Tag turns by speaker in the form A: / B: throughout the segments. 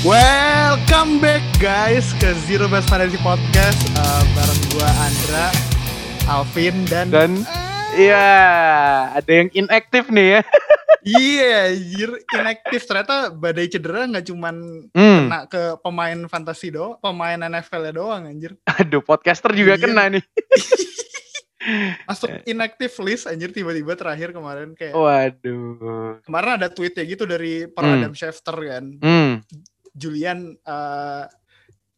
A: Welcome back guys ke Zero Best Fantasy Podcast Eh, bareng gua Andra, Alvin dan Eh,
B: Dan- Iya, ada yang inaktif nih ya.
A: iya jir inaktif ternyata badai cedera nggak cuman
B: Hmm,
A: kena ke pemain fantasi doang, pemain NFL -nya doang anjir.
B: aduh podcaster juga
A: Iya.
B: kena nih.
A: Masuk
B: Eh.
A: inactive list anjir tiba-tiba terakhir kemarin kayak
B: Waduh.
A: kemarin ada tweet ya gitu dari per
B: Oh. Hmm.
A: Adam Schefter kan.
B: Hmm,
A: Julian uh,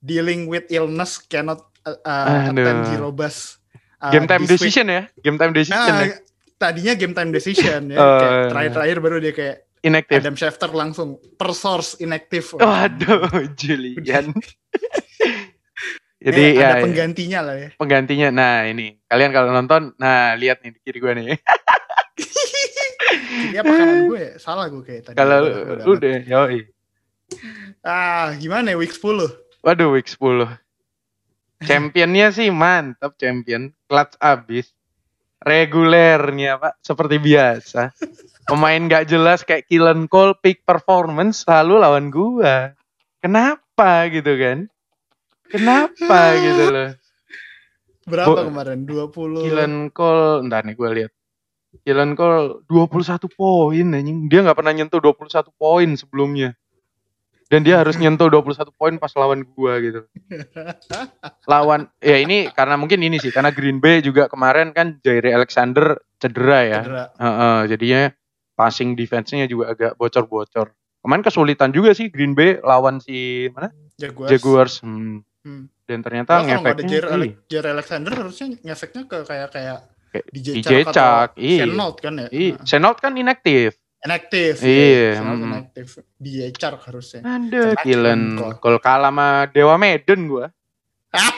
A: dealing with illness cannot uh, uh,
B: Aduh.
A: attempt zero bus. uh,
B: game time
A: this week.
B: decision ya, game time decision
A: Nah,
B: ya,
A: tadinya game time decision ya.
B: Eh.
A: Kayak Terakhir-terakhir baru dia kayak
B: inaktif.
A: Adam Schefter langsung per source inactive.
B: Oh, Waduh, Julian. Jadi
A: Jadi
B: ya,
A: ada
B: ya,
A: penggantinya lah ya.
B: penggantinya. Nah ini kalian kalau nonton, nah lihat nih di kiri gue nih.
A: Jadi apa kanan gue ya? Salah gue kayak tadi.
B: Kalau
A: Udah, udah,
B: lu
A: udah.
B: deh, yoi.
A: Ah, gimana ya week 10?
B: Waduh, week 10 Championnya sih mantap champion, clutch abis. Regulernya pak, seperti biasa. Pemain gak jelas kayak Killen Cole, peak performance selalu lawan gua. Kenapa gitu kan? Kenapa gitu loh?
A: Berapa
B: Bo-
A: kemarin? 20.
B: Killen Cole, entar nih gua lihat. Killen Cole 21 poin anjing. Dia nggak pernah nyentuh 21 poin sebelumnya. Dan dia harus nyentuh 21 poin pas lawan gua gitu. Lawan ya ini karena mungkin ini sih karena Green Bay juga kemarin kan Jair Alexander cedera ya.
A: Cedera.
B: Heeh, jadinya passing defense-nya juga agak bocor-bocor. Kemarin kesulitan juga sih Green Bay lawan si mana?
A: Jaguars.
B: Jaguars. Hmm.
A: Hmm.
B: Dan
A: Nah,
B: ternyata
A: kalau nggak ada
B: ngefeknya
A: Jair,
B: iya.
A: Ale- Jair Alexander harusnya ngefeknya ke kayak kayak
B: Kayak
A: DJ
B: DJ
A: Chark atau
B: Chark, iya.
A: Shane Knox kan ya.
B: Iya, Senot kan inaktif.
A: Inaktif.
B: Iya,
A: Sangat
B: mm.
A: inaktif. DJ Chark harusnya.
B: Aduh,
A: Senot
B: Dylan.
A: kan,
B: Gol kalah sama Dewa Medan gua.
A: Ah,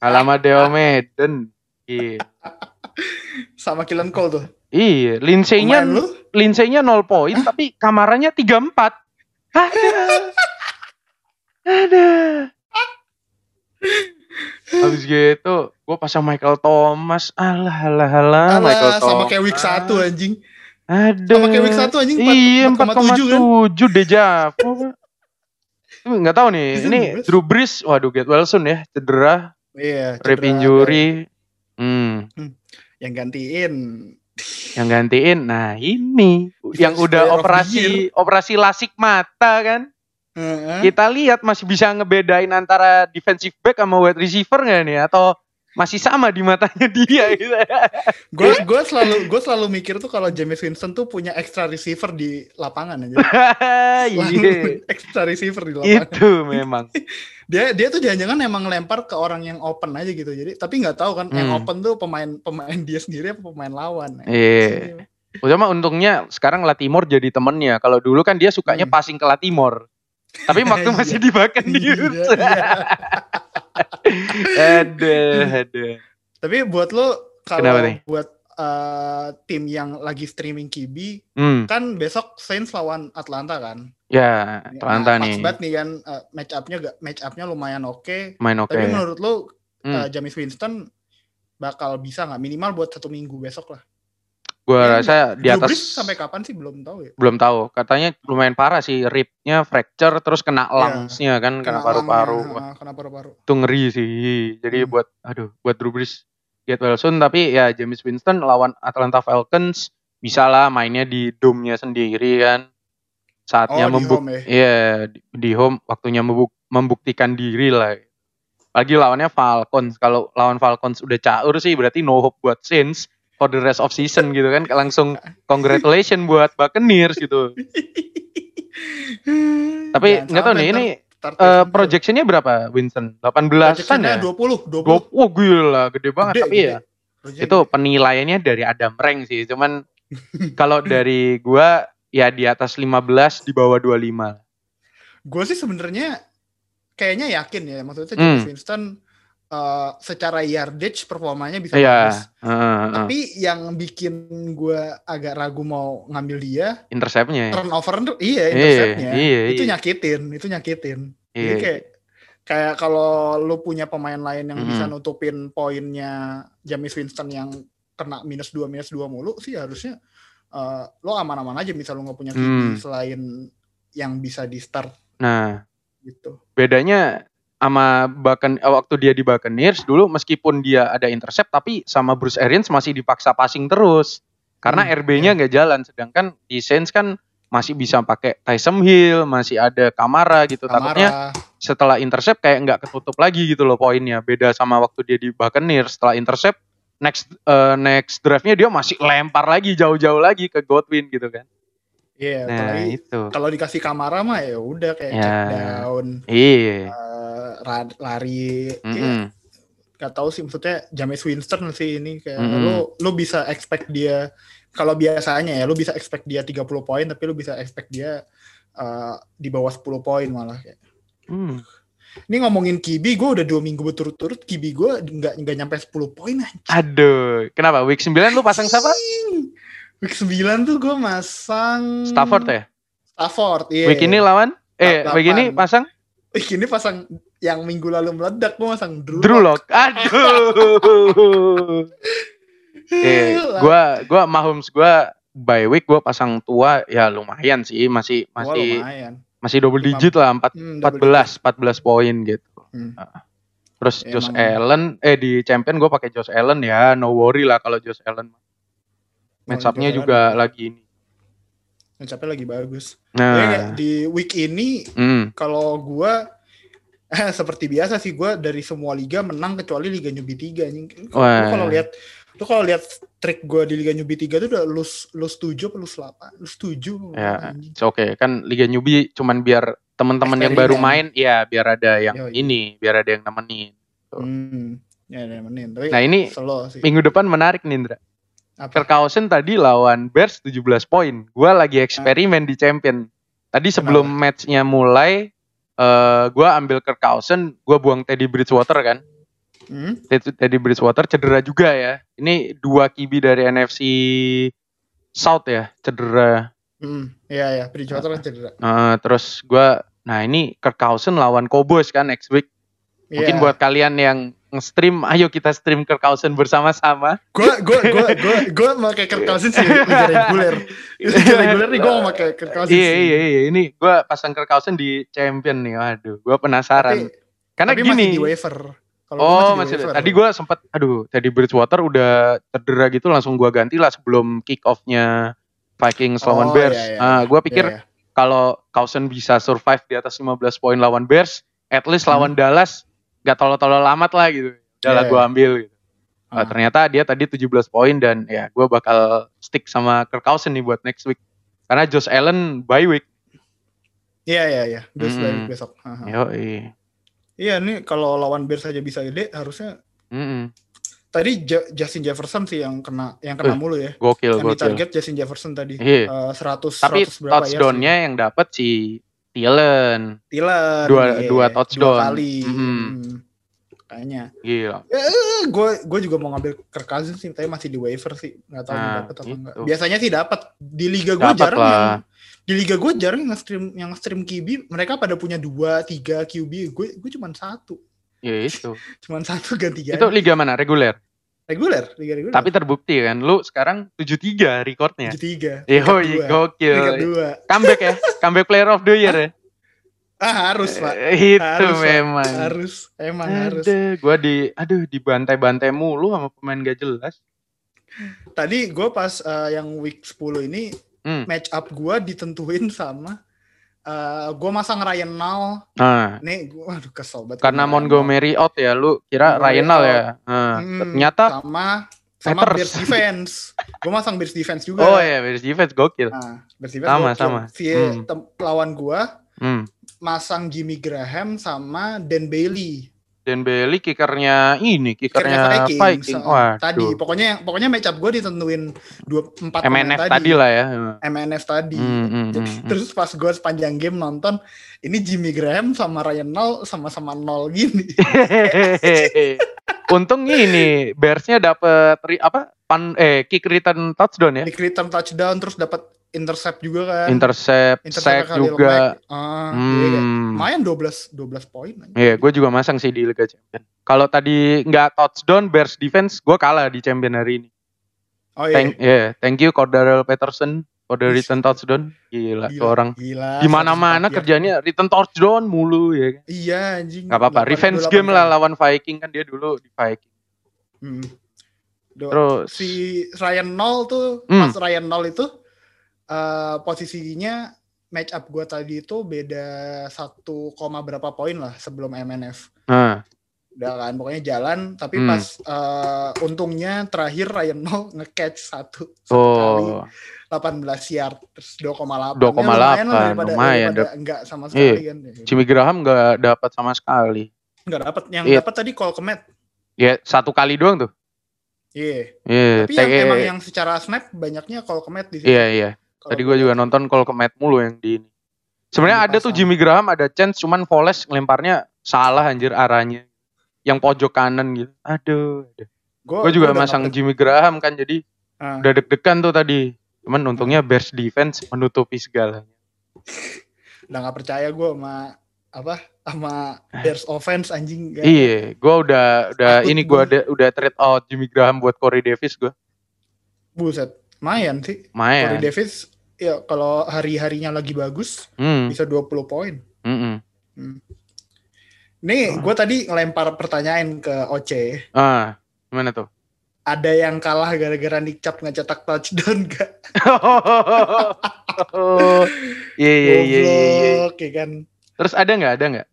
B: Kalah sama Dewa Medan. Iya.
A: sama Killen Cole tuh.
B: Iya, Lindsay-nya
A: Pemain lu?
B: Lindsay-nya 0 poin tapi kamarannya 34. Ada. Ada. Habis gitu, gue pasang Michael Thomas. Alah, alah, alah. Ah, Michael
A: Alah, sama
B: Thomas.
A: kayak week 1 anjing.
B: Ada.
A: Sama kayak week 1 anjing
B: Iya,
A: 4,7 kan.
B: 4,7 deja. Enggak tahu nih.
A: Bisa
B: Ini
A: dibahas.
B: Drew Brees, waduh get well soon ya, cedera,
A: Iya,
B: rib
A: cedera.
B: injury. Hmm,
A: Yang gantiin.
B: yang gantiin. Nah, ini
A: Defensive
B: yang udah
A: player of the
B: operasi operasi lasik mata kan.
A: Heeh.
B: Kita lihat masih bisa ngebedain antara defensive back sama wide receiver nggak nih atau masih sama di matanya dia gitu.
A: Gue gue selalu gue selalu mikir tuh kalau James Winston tuh punya extra receiver di lapangan aja.
B: Iya.
A: extra receiver di lapangan.
B: Itu memang.
A: dia dia tuh jangan-jangan emang lempar ke orang yang open aja gitu jadi tapi nggak tahu kan yang
B: Hmm.
A: open tuh pemain pemain dia sendiri apa pemain lawan ya.
B: Iya. Udah mah untungnya sekarang Latimore jadi temennya. Kalau dulu kan dia sukanya
A: Hmm.
B: passing ke Latimore. Tapi waktu
A: Iya.
B: masih di Bakan
A: Iya,
B: Youth.
A: iya.
B: Aduh, aduh.
A: tapi buat lo
B: Kenapa
A: kalau
B: nih?
A: buat eh, tim yang lagi streaming Kibi
B: Hmm,
A: kan besok Saints lawan Atlanta kan
B: ya, Atlanta
A: Nah, pas
B: nih.
A: banget nih kan eh, match upnya gak match upnya lumayan oke
B: Main oke.
A: tapi menurut lo eh,
B: Hmm.
A: James Winston bakal bisa nggak minimal buat satu minggu besok lah
B: Gua rasa di
A: Drew
B: atas
A: Brees sampai kapan sih belum tahu ya
B: belum tahu katanya lumayan parah sih ribnya fracture terus
A: Iya.
B: kena lungs-nya kan kena paru-paru
A: lungnya, eh, kena paru-paru
B: itu ngeri sih jadi
A: Hmm.
B: buat aduh buat Drew Brees get well soon tapi ya James Winston lawan Atlanta Falcons bisa lah mainnya di dome-nya sendiri kan
A: di
B: saatnya membuk
A: home ya.
B: iya di, di home waktunya membuk- membuktikan diri lah lagi lawannya Falcons kalau lawan Falcons udah caur sih berarti no hope buat Saints for the rest of season gitu kan langsung congratulations buat Buccaneers gitu Tapi
A: Jangan
B: nggak tahu
A: sampai
B: nih
A: ntar-
B: ini
A: ntar
B: eh,
A: tersinggung.
B: projectionnya berapa Winston? 18-an
A: Projectionnya
B: ya?
A: 20, 20.
B: Dua- Wah gila, gede banget
A: Gede,
B: tapi
A: gede.
B: ya.
A: Projection.
B: Itu penilaiannya dari Adam Rank sih. Cuman kalau dari gua ya di atas 15 di bawah 25.
A: Gue sih sebenarnya kayaknya yakin ya maksudnya James
B: Hmm.
A: Winston eh, secara yardage performanya bisa bagus.
B: Iya, heeh, heeh.
A: Tapi yang bikin gue agak ragu mau ngambil dia
B: interceptnya ya.
A: turnover iya
B: Iya,
A: interceptnya
B: iya,
A: itu
B: iya.
A: nyakitin itu nyakitin. Jadi
B: Iya.
A: kayak kayak kalau lu punya pemain lain yang bisa
B: Mm.
A: nutupin poinnya James Winston yang kena minus 2 minus 2 mulu sih harusnya eh, lo aman-aman aja misal lo nggak punya QB
B: Hmm.
A: selain yang bisa di start
B: Nah,
A: gitu.
B: bedanya sama Bakan waktu dia di Buccaneers dulu meskipun dia ada intercept tapi sama Bruce Arians masih dipaksa passing terus karena
A: Hmm,
B: RB-nya nggak jalan sedangkan di Saints kan masih bisa pakai Tyson Hill masih ada Kamara gitu takutnya
A: Kamara.
B: setelah intercept kayak nggak ketutup lagi gitu loh poinnya beda sama waktu dia di Buccaneers setelah intercept next eh, next drive-nya dia masih lempar lagi jauh-jauh lagi ke Godwin gitu kan
A: Iya,
B: nah
A: apalagi
B: itu
A: kalau dikasih Kamara mah ya udah kayak
B: Ya.
A: check down,
B: iya
A: eh, ra- lari. Kayak
B: Mm-mm.
A: Gak tau sih maksudnya James Winston sih ini kayak
B: Mm-mm.
A: lo lo bisa expect dia kalau biasanya ya lo bisa expect dia 30 poin tapi lo bisa expect dia eh, di bawah 10 poin malah kayak.
B: Hmm.
A: Ini ngomongin Kibi, gue udah dua minggu berturut-turut Kibi gue nggak nggak nyampe 10 poin anjing.
B: aduh kenapa week 9 lu pasang siapa
A: Week 9 tuh gue masang
B: Stafford ya
A: Stafford, Hmm. iya.
B: week ini lawan eh
A: Delapan.
B: week ini pasang
A: Week ini pasang yang minggu lalu meledak gue pasang Drew.
B: Drew Lock aduh Eh, gua gua Mahomes gua by week gua pasang tua ya lumayan sih masih
A: Wah,
B: masih
A: lumayan.
B: masih double
A: Lima-
B: digit lah 4
A: Hmm, double
B: 14 14 poin gitu.
A: Hmm.
B: Heeh. Terus
A: Iya, Emang-
B: Josh Allen eh di champion gue pakai Josh Allen ya, no worry lah kalau Josh Allen
A: digit.
B: match
A: Wah,
B: up-nya
A: Josh
B: juga
A: Allen.
B: lagi ini.
A: Match up-nya lagi bagus. Ya, kayak
B: Nah,
A: di week ini
B: hmm,
A: kalau gua seperti biasa sih gua dari semua liga menang kecuali liga nyubi 3 anjing. Lu
B: Wah.
A: kalau lihat lu kalau lihat trik gua di liga nyubi 3 itu udah lose lose 7 apa lose 8? Lose 7.
B: ya it's okay kan Liga Newbie cuman biar teman-teman yang baru main
A: Eksperimen.
B: ya biar ada yang
A: Yoi.
B: ini, biar ada yang nemenin.
A: Hmm. Ya, nemenin. Tapi
B: Nah, ini
A: slow sih.
B: Minggu depan menarik nih Indra.
A: Apa?
B: Kirkhausen tadi lawan Bears 17 poin. Gua lagi
A: Nah.
B: eksperimen di champion. Tadi sebelum matchnya mulai, eh gua ambil Kirkhausen, gua buang Teddy Bridgewater kan.
A: Hmm?
B: Ted- Teddy Bridgewater cedera juga ya. Ini dua kibi dari NFC South ya, cedera.
A: Hmm. Iya, ya, Bridgewater kan cedera.
B: Eh, terus gua, nah ini Kirkhausen lawan Cowboys kan next week.
A: Iya.
B: Mungkin buat kalian yang nge-stream, ayo kita stream Kirkhausen bersama-sama.
A: gue gue gue gue gue pakai
B: Iya.
A: kertas sih liga reguler liga reguler nih gue mau pakai kertas
B: Iya iya iya ini gua pasang Kirkhausen di champion nih. Waduh, gua penasaran. Karena
A: tapi
B: gini.
A: masih di waiver Kalau gua
B: Oh,
A: di
B: masih
A: waiver.
B: tadi gua sempat aduh, tadi Bridgewater udah cedera gitu langsung gua ganti lah sebelum kick off-nya Vikings
A: Oh,
B: lawan Bears.
A: iya, iya,
B: Ah, gua pikir
A: Iya,
B: kalau Kausen bisa survive di atas 15 poin lawan Bears, at least
A: Hmm.
B: lawan Dallas nggak tolol-tolol amat lah gitu. Udah lah
A: Iya,
B: gua ambil gitu. Ah,
A: Ah.
B: ternyata dia tadi 17 poin dan ya gua bakal stick sama Kirk Cousins nih buat next week. Karena Josh Allen bye week.
A: iya iya iya Bears balik
B: Mm-mm.
A: besok Aha.
B: Yo, Hmm. iya.
A: iya nih kalau lawan Bears aja bisa gede harusnya tadi Ja- Justin Jefferson sih yang kena yang kena
B: Eh,
A: mulu ya
B: Gokil,
A: yang di
B: gokil.
A: target Justin Jefferson tadi
B: Iya.
A: Eh, 100
B: Tapi
A: 100 berapa ya
B: touchdown-nya yang dapat si Thielen.
A: Tilan
B: dua- dua touchdown.
A: Iya,
B: Mm-hmm.
A: kali
B: Mm-mm.
A: Hmm. kayaknya
B: Gila.
A: Eh, gue gue juga mau ngambil Kirk Cousins sih tapi masih di waiver sih nggak tahu
B: Nah,
A: dapat apa
B: gitu.
A: enggak biasanya sih dapat di liga gue
B: Dapat
A: jarang
B: lah.
A: yang di liga gue jarang yang stream yang stream QB mereka pada punya dua tiga QB gue gue cuman satu
B: Ya itu.
A: cuman satu ganti ganti
B: Itu liga mana? Reguler.
A: Ya reguler liga reguler
B: Tapi terbukti kan lu sekarang 73 recordnya.
A: Tujuh tiga Peringkat
B: Yo,
A: dua. peringkat
B: gokil.
A: dua
B: Comeback ya. Comeback player of the year ya.
A: ah harus pak
B: Eh, Itu
A: Harus, Pak.
B: memang.
A: harus emang harus
B: Aduh, gua di aduh dibantai-bantai mulu sama pemain gak jelas.
A: tadi gue pas eh, yang week 10 ini
B: Hmm.
A: match up gue ditentuin sama eh gue masang Ryan Nall
B: Nah,
A: Nih, gua aduh kesel banget.
B: karena
A: Kemarin.
B: Montgomery out ya lu
A: Nah,
B: kira
A: Montgomery
B: Ryanal
A: out.
B: ya. Nah,
A: Hmm,
B: ternyata
A: sama sama
B: Panthers.
A: Bears defense. gua masang Bears defense juga.
B: oh ya Bears defense gokil.
A: Nah, Bears defense
B: Sama,
A: gua-
B: sama.
A: Si
B: Hmm.
A: tem- lawan gua
B: Hmm.
A: masang Jimmy Graham sama Dan Bailey.
B: Dan Bailey kickernya ini,
A: Akhirnya
B: kickernya Viking.
A: Vikings, uh,
B: Waduh.
A: Tadi pokoknya yang pokoknya match up gua ditentuin dua empat pemain
B: MNF tadi lah ya.
A: MNF tadi.
B: Hmm, hmm,
A: Jadi,
B: hmm, hmm.
A: Terus pas gua sepanjang game nonton, ini Jimmy Graham sama Ryan Nall sama-sama nol gini.
B: Hehehe. Untung ini Bearsnya dapet ri- apa pan eh kick return touchdown ya.
A: Di return touchdown terus dapat intercept juga kan.
B: Intercept,
A: Intercept
B: sack
A: kali
B: juga.
A: Lemack. Ah, iya kan.
B: Hmm.
A: Lumayan 12 12 poin. anjing.
B: Iya, gue juga masang sih di Liga Champion. Kalau tadi nggak touchdown Bears defense, gue kalah di Champion hari ini.
A: Oh iya.
B: Thank, yeah, thank you Cordarel Peterson. Kode return touchdown gila, tuh orang.
A: Gila. Nah,
B: Di
A: 104
B: mana-mana
A: yard.
B: kerjanya return touchdown mulu ya. kan.
A: Iya anjing.
B: Gak apa-apa, revenge game lah lawan Viking kan dia dulu di Viking.
A: Hmm. Do-
B: Terus
A: si Ryan Nol tuh,
B: Hmm.
A: pas Ryan Nol itu eh posisinya match up gua tadi itu beda 1, koma berapa poin lah sebelum MNF.
B: nah,
A: Udah kan pokoknya jalan tapi
B: Hmm.
A: pas eh, untungnya terakhir Ryan Nol nge-catch satu, satu
B: oh.
A: 18 yard terus 2,8.
B: 2,8,
A: Ya, lah daripada,
B: lumayan, Iya.
A: daripada enggak sama sekali kan.
B: Jimmy Graham nggak dapat sama sekali.
A: Enggak dapat yang
B: Iya.
A: dapat tadi call ke Matt.
B: Ya satu kali doang tuh.
A: Iya.
B: Iya,
A: Tapi yang
B: TE.
A: emang yang secara snap banyaknya call ke Matt di situ.
B: Iya iya.
A: Kalau
B: Tadi
A: gua
B: gue juga
A: lihat.
B: nonton call ke Matt mulu yang di ini.
A: Yang
B: Sebenarnya ada tuh
A: dipasang.
B: Jimmy Graham ada chance cuman Voles ngelemparnya salah anjir arahnya. Yang pojok kanan gitu. Aduh. aduh. Gue
A: Oh,
B: juga
A: udah
B: masang
A: nggak-
B: Jimmy Graham kan jadi
A: Ah.
B: udah deg-degan tuh tadi. Cuman untungnya Bears defense menutupi segalanya.
A: udah nggak percaya gue sama apa sama Bears offense anjing kan. gak?
B: Iya, gue udah udah
A: Takut
B: ini gue
A: Ya. gua.
B: ada udah trade out Jimmy Graham buat Corey Davis gue.
A: buset mayan sih Corey
B: Main.
A: Davis ya kalau hari harinya lagi bagus
B: Hmm,
A: bisa 20 poin
B: mm-mm. Hmm.
A: nih gue tadi ngelempar pertanyaan ke Oce
B: Ah, gimana tuh?
A: ada yang kalah gara-gara Nick Chubb ngecetak touchdown gak?
B: Iya iya iya iya, iya.
A: Goblok, ya kan
B: Terus ada nggak ada nggak?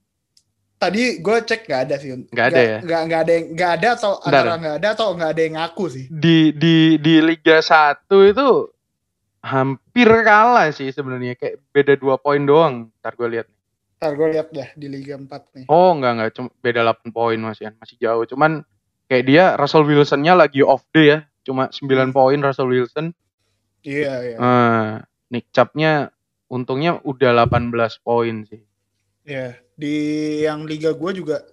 A: tadi gue cek nggak ada sih
B: Nggak ada ya?
A: nggak nggak ada yang nggak ada atau
B: Bentar.
A: antara nggak ada atau nggak ada yang ngaku sih
B: di di di Liga 1 itu hampir kalah sih sebenarnya kayak beda dua poin doang ntar gue lihat
A: ntar gue lihat dah di Liga 4 nih
B: oh enggak enggak cuma beda 8 poin masih masih jauh cuman kayak dia Russell Wilsonnya lagi off day ya cuma 9 poin Russell Wilson
A: iya iya
B: eh Nick Chubb-nya untungnya udah 18 poin sih
A: Ya, di yang liga gue juga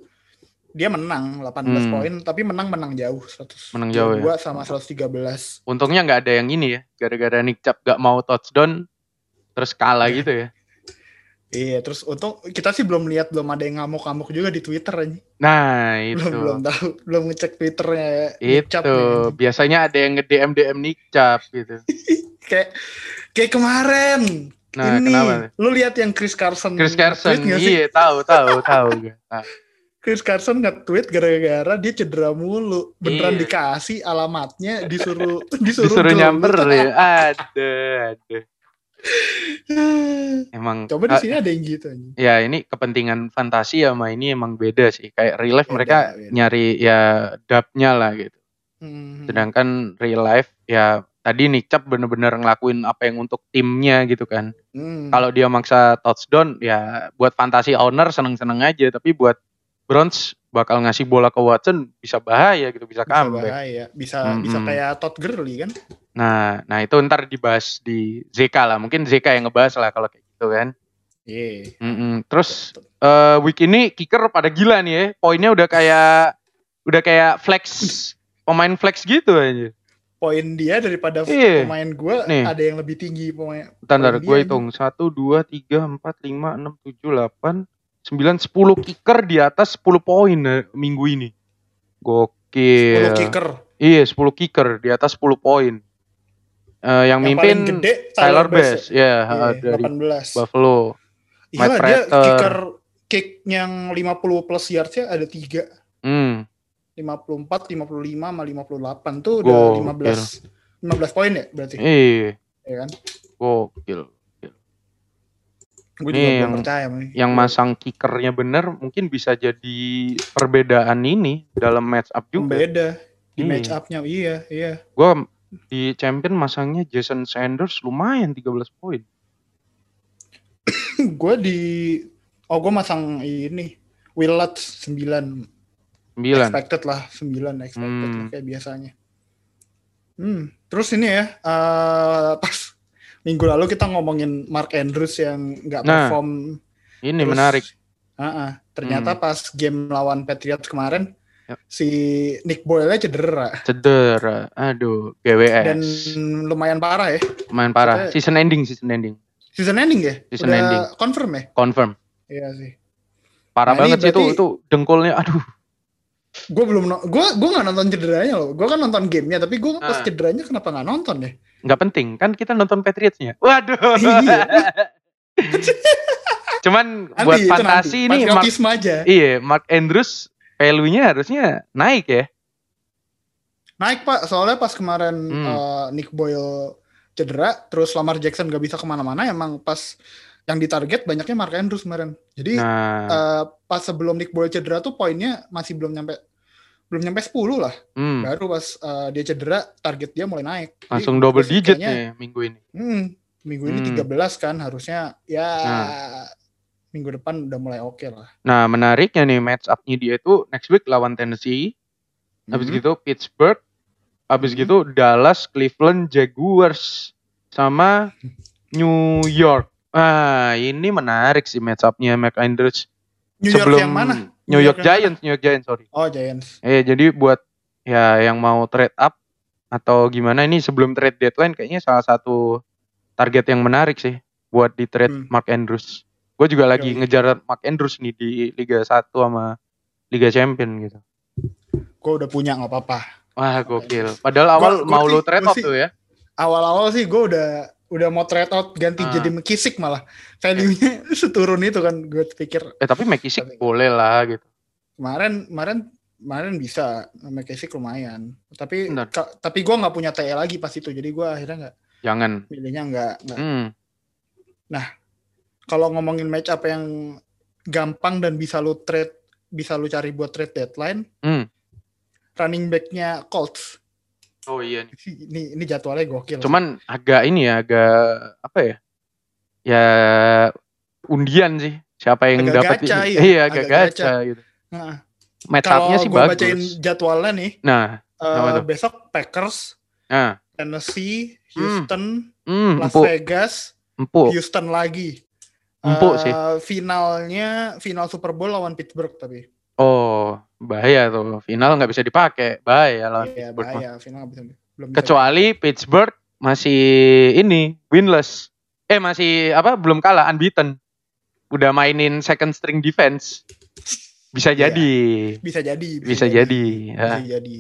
A: dia menang 18
B: Hmm.
A: poin, tapi menang-menang jauh 100.
B: Menang jauh ya.
A: sama 113.
B: untungnya nggak ada yang ini ya gara-gara Nick Chubb nggak mau touchdown terus kalah gitu ya
A: Iya, terus untung kita sih belum lihat belum ada yang ngamuk-ngamuk juga di Twitter anjing.
B: nah itu
A: Belum belum tahu, belum ngecek Twitternya Nick
B: itu
A: Chubb nih, anjing.
B: biasanya ada yang nge DM DM Nick Chubb gitu
A: Kayak kayak kemarin.
B: nah
A: ini
B: kenapa
A: lu lihat yang Chris Carson
B: Chris Carson
A: nge-tweet nggak sih?
B: iya tahu tahu tahu gua. Nah, Tahu.
A: Chris Carson nge-tweet gara-gara dia cedera mulu beneran
B: Iya.
A: dikasih alamatnya disuruh disuruh,
B: disuruh
A: download.
B: nyamper ya ada ada emang
A: coba di
B: ah,
A: sini ada yang gitu anjing.
B: ya ini kepentingan fantasi sama ini emang beda sih kayak real life
A: Beda,
B: mereka
A: beda.
B: nyari ya dapnya lah gitu
A: Hmm.
B: sedangkan real life ya tadi Nick Chubb bener-bener ngelakuin apa yang untuk timnya gitu kan
A: Hmm.
B: kalau dia maksa touchdown ya buat fantasi owner seneng-seneng aja tapi buat Browns bakal ngasih bola ke Watson bisa bahaya gitu bisa
A: bisa
B: comeback.
A: bahaya. iya. Bisa
B: Mm-mm.
A: bisa kayak Todd Gurley kan?
B: Nah, nah itu ntar dibahas di ZK lah. Mungkin ZK yang ngebahas lah kalau kayak gitu kan.
A: Iya.
B: Mm-mm. Terus eh, week ini kicker pada gila nih ya. Poinnya udah kayak udah kayak flex pemain flex gitu aja.
A: Poin dia daripada f-
B: Iya.
A: pemain gua
B: Nih.
A: ada yang lebih tinggi pemain.
B: Ntar, ntar
A: Poin
B: gue
A: dia
B: hitung. 1, 2, 3, 4, 5, 6, 7, 8, 9, 10 kicker di atas 10 poin eh, minggu ini. Gokil.
A: 10 kicker.
B: Iya, 10 kicker di atas 10 poin. Eh,
A: Yang
B: yang, mimpin
A: paling gede
B: Tyler Bass. Ya,
A: Iya,
B: eh, dari
A: 18.
B: Buffalo.
A: Iya,
B: Matt
A: dia
B: Prater.
A: kicker kick yang 50 plus yards-nya ada 3.
B: Hmm,
A: 54, 55, sama 58 tuh
B: Gokil.
A: udah 15 15 poin ya berarti,
B: iya,
A: ya kan?
B: gokil.
A: Gue juga belum
B: Nih, Iya, yang-
A: percaya. Mai.
B: Yang masang kickernya bener mungkin bisa jadi perbedaan ini dalam match up juga.
A: Beda di
B: Iya.
A: match up-nya. Iya, iya.
B: Gue di champion masangnya Jason Sanders lumayan 13 poin.
A: gue di oh gue masang ini Willard 9
B: 9.
A: expected lah 9 expected
B: Hmm.
A: lah, kayak biasanya hmm terus ini ya eh, pas minggu lalu kita ngomongin Mark Andrews yang nggak
B: Nah,
A: perform
B: Ini
A: terus-
B: menarik. Hmm.
A: Ah, ah. ternyata pas game lawan Patriots kemarin
B: Yap.
A: si Nick Boyle cedera
B: Cedera. Aduh, GWS.
A: dan lumayan parah ya
B: Main parah.
A: Cedera.
B: Season ending, season ending.
A: season ending ya
B: Season
A: udah
B: ending.
A: confirm ya
B: Confirm.
A: iya sih
B: Parah
A: Nah, ini
B: banget sih itu
A: berarti-
B: itu dengkulnya. Aduh.
A: gue belum no gue gue nggak nonton cederanya loh gue kan nonton gamenya tapi gue pas
B: Ah.
A: cederanya kenapa nggak nonton ya
B: nggak penting kan kita nonton Patriotsnya waduh
A: Iya.
B: cuman
A: Nanti,
B: buat
A: Kan iya, itu
B: fantasi
A: nanti.
B: ini Mark,
A: patriotisme aja.
B: iya Mark Andrews value-nya harusnya naik ya
A: Naik pak, soalnya pas kemarin
B: Hmm.
A: eh, Nick Boyle cedera, terus Lamar Jackson gak bisa kemana-mana, emang pas yang ditarget banyaknya Mark Andrews kemarin. Jadi
B: nah
A: eh, pas sebelum Nick Boyle cedera tuh poinnya masih belum nyampe belum nyampe 10 lah.
B: hmm,
A: Baru pas eh, dia cedera, target dia mulai naik. Jadi,
B: langsung double
A: terus
B: digit
A: kayaknya,
B: nih minggu ini
A: hmm, minggu ini
B: Hmm.
A: 13 kan, harusnya ya
B: Nah.
A: minggu depan udah mulai oke lah.
B: nah menariknya nih match up-nya dia itu next week lawan Tennessee habis
A: Hmm.
B: gitu Pittsburgh habis
A: Hmm.
B: gitu Dallas Cleveland Jaguars sama New York ah ini menarik sih match up-nya Mark Andrews
A: New York
B: sebelum
A: yang mana?
B: New
A: New York
B: York,
A: yang
B: Giants, New York Giants, sorry.
A: Oh Giants.
B: Eh jadi buat ya yang mau trade up atau gimana ini sebelum trade deadline kayaknya salah satu target yang menarik sih buat di trade
A: Hmm.
B: Mark Andrews. Gue juga lagi
A: Yoi.
B: ngejar Mark Andrews nih di Liga 1 sama Liga Champion gitu.
A: Gue udah punya nggak apa-apa.
B: Wah
A: Mark
B: gokil. Padahal awal
A: Gua- gua
B: mau
A: sih-
B: lu trade
A: gua
B: up
A: sih-
B: tuh ya.
A: awal-awal sih gue udah udah mau trade out ganti
B: Ah.
A: jadi McKissick malah value-nya seturun itu kan gue pikir
B: Eh tapi McKissick
A: Tapi-
B: boleh lah gitu.
A: kemarin kemarin kemarin bisa McKissick lumayan tapi
B: Benar.
A: ka- tapi gue nggak punya TE lagi pas itu jadi gue akhirnya nggak
B: Jangan.
A: milihnya nggak nggak.
B: Hmm.
A: kalau ngomongin match up yang gampang dan bisa lu trade bisa lu cari buat trade deadline
B: Hmm.
A: running backnya Colts
B: Oh iya nih.
A: ini ini jadwalnya gokil
B: Cuman agak ini ya, agak apa ya? Ya undian sih. Siapa yang
A: Agak
B: dapat
A: gacha,
B: ini.
A: iya.
B: Iya, agak
A: Agak
B: gacha,
A: gacha.
B: gitu.
A: Nah,
B: Match
A: kalau
B: up-nya sih
A: gue
B: bagus.
A: bacain jadwalnya nih
B: Nah, Apa
A: eh,
B: tuh?
A: besok Packers
B: nah.
A: Tennessee,
B: Hmm.
A: Houston,
B: Hmm,
A: Las
B: empuk,
A: Vegas,
B: empuk.
A: Houston lagi.
B: Empuk
A: Eh,
B: sih.
A: Finalnya final Super Bowl lawan Pittsburgh tapi.
B: Oh, bahaya tuh. Final nggak bisa dipakai. Bahaya
A: Iya
B: lawan Ah, Pittsburgh.
A: bahaya final nggak bisa belum bisa.
B: Kecuali Pittsburgh masih ini winless. Eh masih apa? Belum kalah unbeaten. Udah mainin second string defense. Bisa
A: Iya.
B: jadi.
A: bisa jadi.
B: Bisa jadi. Ya.
A: Bisa jadi.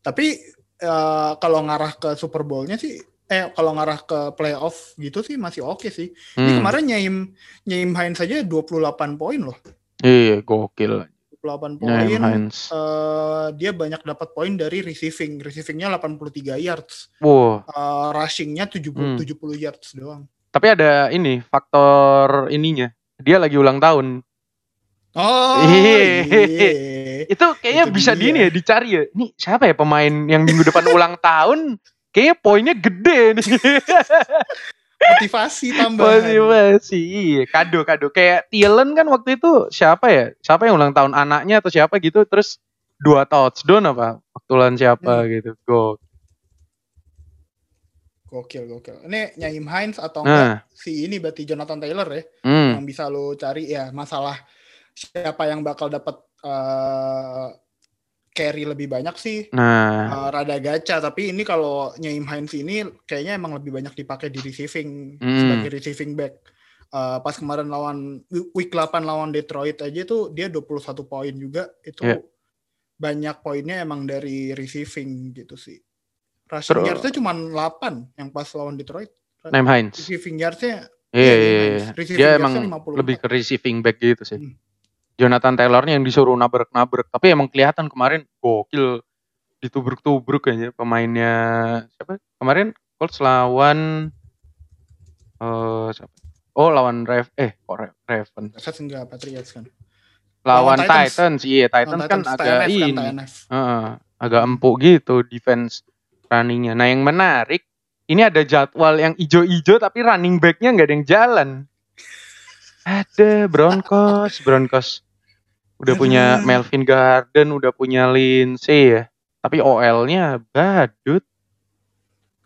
A: Tapi eh, kalau ngarah ke Super Bowl-nya sih eh kalau ngarah ke playoff gitu sih masih oke sih. Ini
B: Hmm.
A: kemarin nyaim nyaim Hines saja 28 poin loh.
B: Iya, gokil.
A: 28 poin.
B: Nyayem Hines.
A: Eh, dia banyak dapat poin dari receiving. Receivingnya 83 yards.
B: Wow.
A: eh rushingnya 70
B: Hmm.
A: 70 yards doang.
B: Tapi ada ini faktor ininya. Dia lagi ulang tahun.
A: Oh.
B: Iya.
A: iya.
B: Itu kayaknya
A: Itu
B: bisa
A: dia.
B: di ini ya dicari ya. Ini siapa ya pemain yang minggu depan ulang tahun? Kayaknya poinnya gede nih.
A: Motivasi tambahan.
B: Motivasi. Iya, kado kado. Kayak Thielen kan waktu itu siapa ya? Siapa yang ulang tahun anaknya atau siapa gitu terus dua touchdown apa? Waktu lawan siapa
A: Hmm.
B: gitu. Go.
A: Gokil, gokil. Ini Nyaim Hines atau enggak
B: Nah,
A: si ini berarti Jonathan Taylor ya
B: hmm.
A: yang bisa lo cari ya masalah siapa yang bakal dapat eh, carry lebih banyak sih.
B: Nah,
A: eh, rada gacha tapi ini kalau Nyaim Hines ini kayaknya emang lebih banyak dipakai di receiving
B: Hmm.
A: sebagai receiving back. Eh, pas kemarin lawan week 8 lawan Detroit aja tuh dia 21 poin juga itu
B: Iya.
A: banyak poinnya emang dari receiving gitu sih.
B: Terus-
A: Rushing yards-nya cuma 8 yang pas lawan Detroit.
B: Naim Hines.
A: Receiving yards-nya
B: Iya,
A: Nyayim
B: iya,
A: Hines.
B: iya.
A: Receiving
B: Dia
A: yards-nya
B: emang
A: 54.
B: lebih ke receiving back gitu sih.
A: Hmm.
B: Jonathan Taylornya yang disuruh nabrek-nabrek. Tapi emang kelihatan kemarin gokil ditubruk-tubruk kayaknya pemainnya siapa? Kemarin Colts lawan eh siapa? Oh lawan Rev eh kok Re- Ravens.
A: Saya enggak Patriots kan. Lawan
B: Lawan, Titans.
A: Titans.
B: iya Titans,
A: Lawan
B: kan
A: Titans,
B: agak
A: TNF
B: ini.
A: kan, TNF.
B: Heeh, agak empuk gitu defense runningnya. Nah yang menarik ini ada jadwal yang ijo-ijo tapi running backnya nggak ada yang jalan. Ada Broncos, Broncos. Udah punya
A: Aduh.
B: Melvin Garden, udah punya Lindsay ya. Tapi OL-nya badut,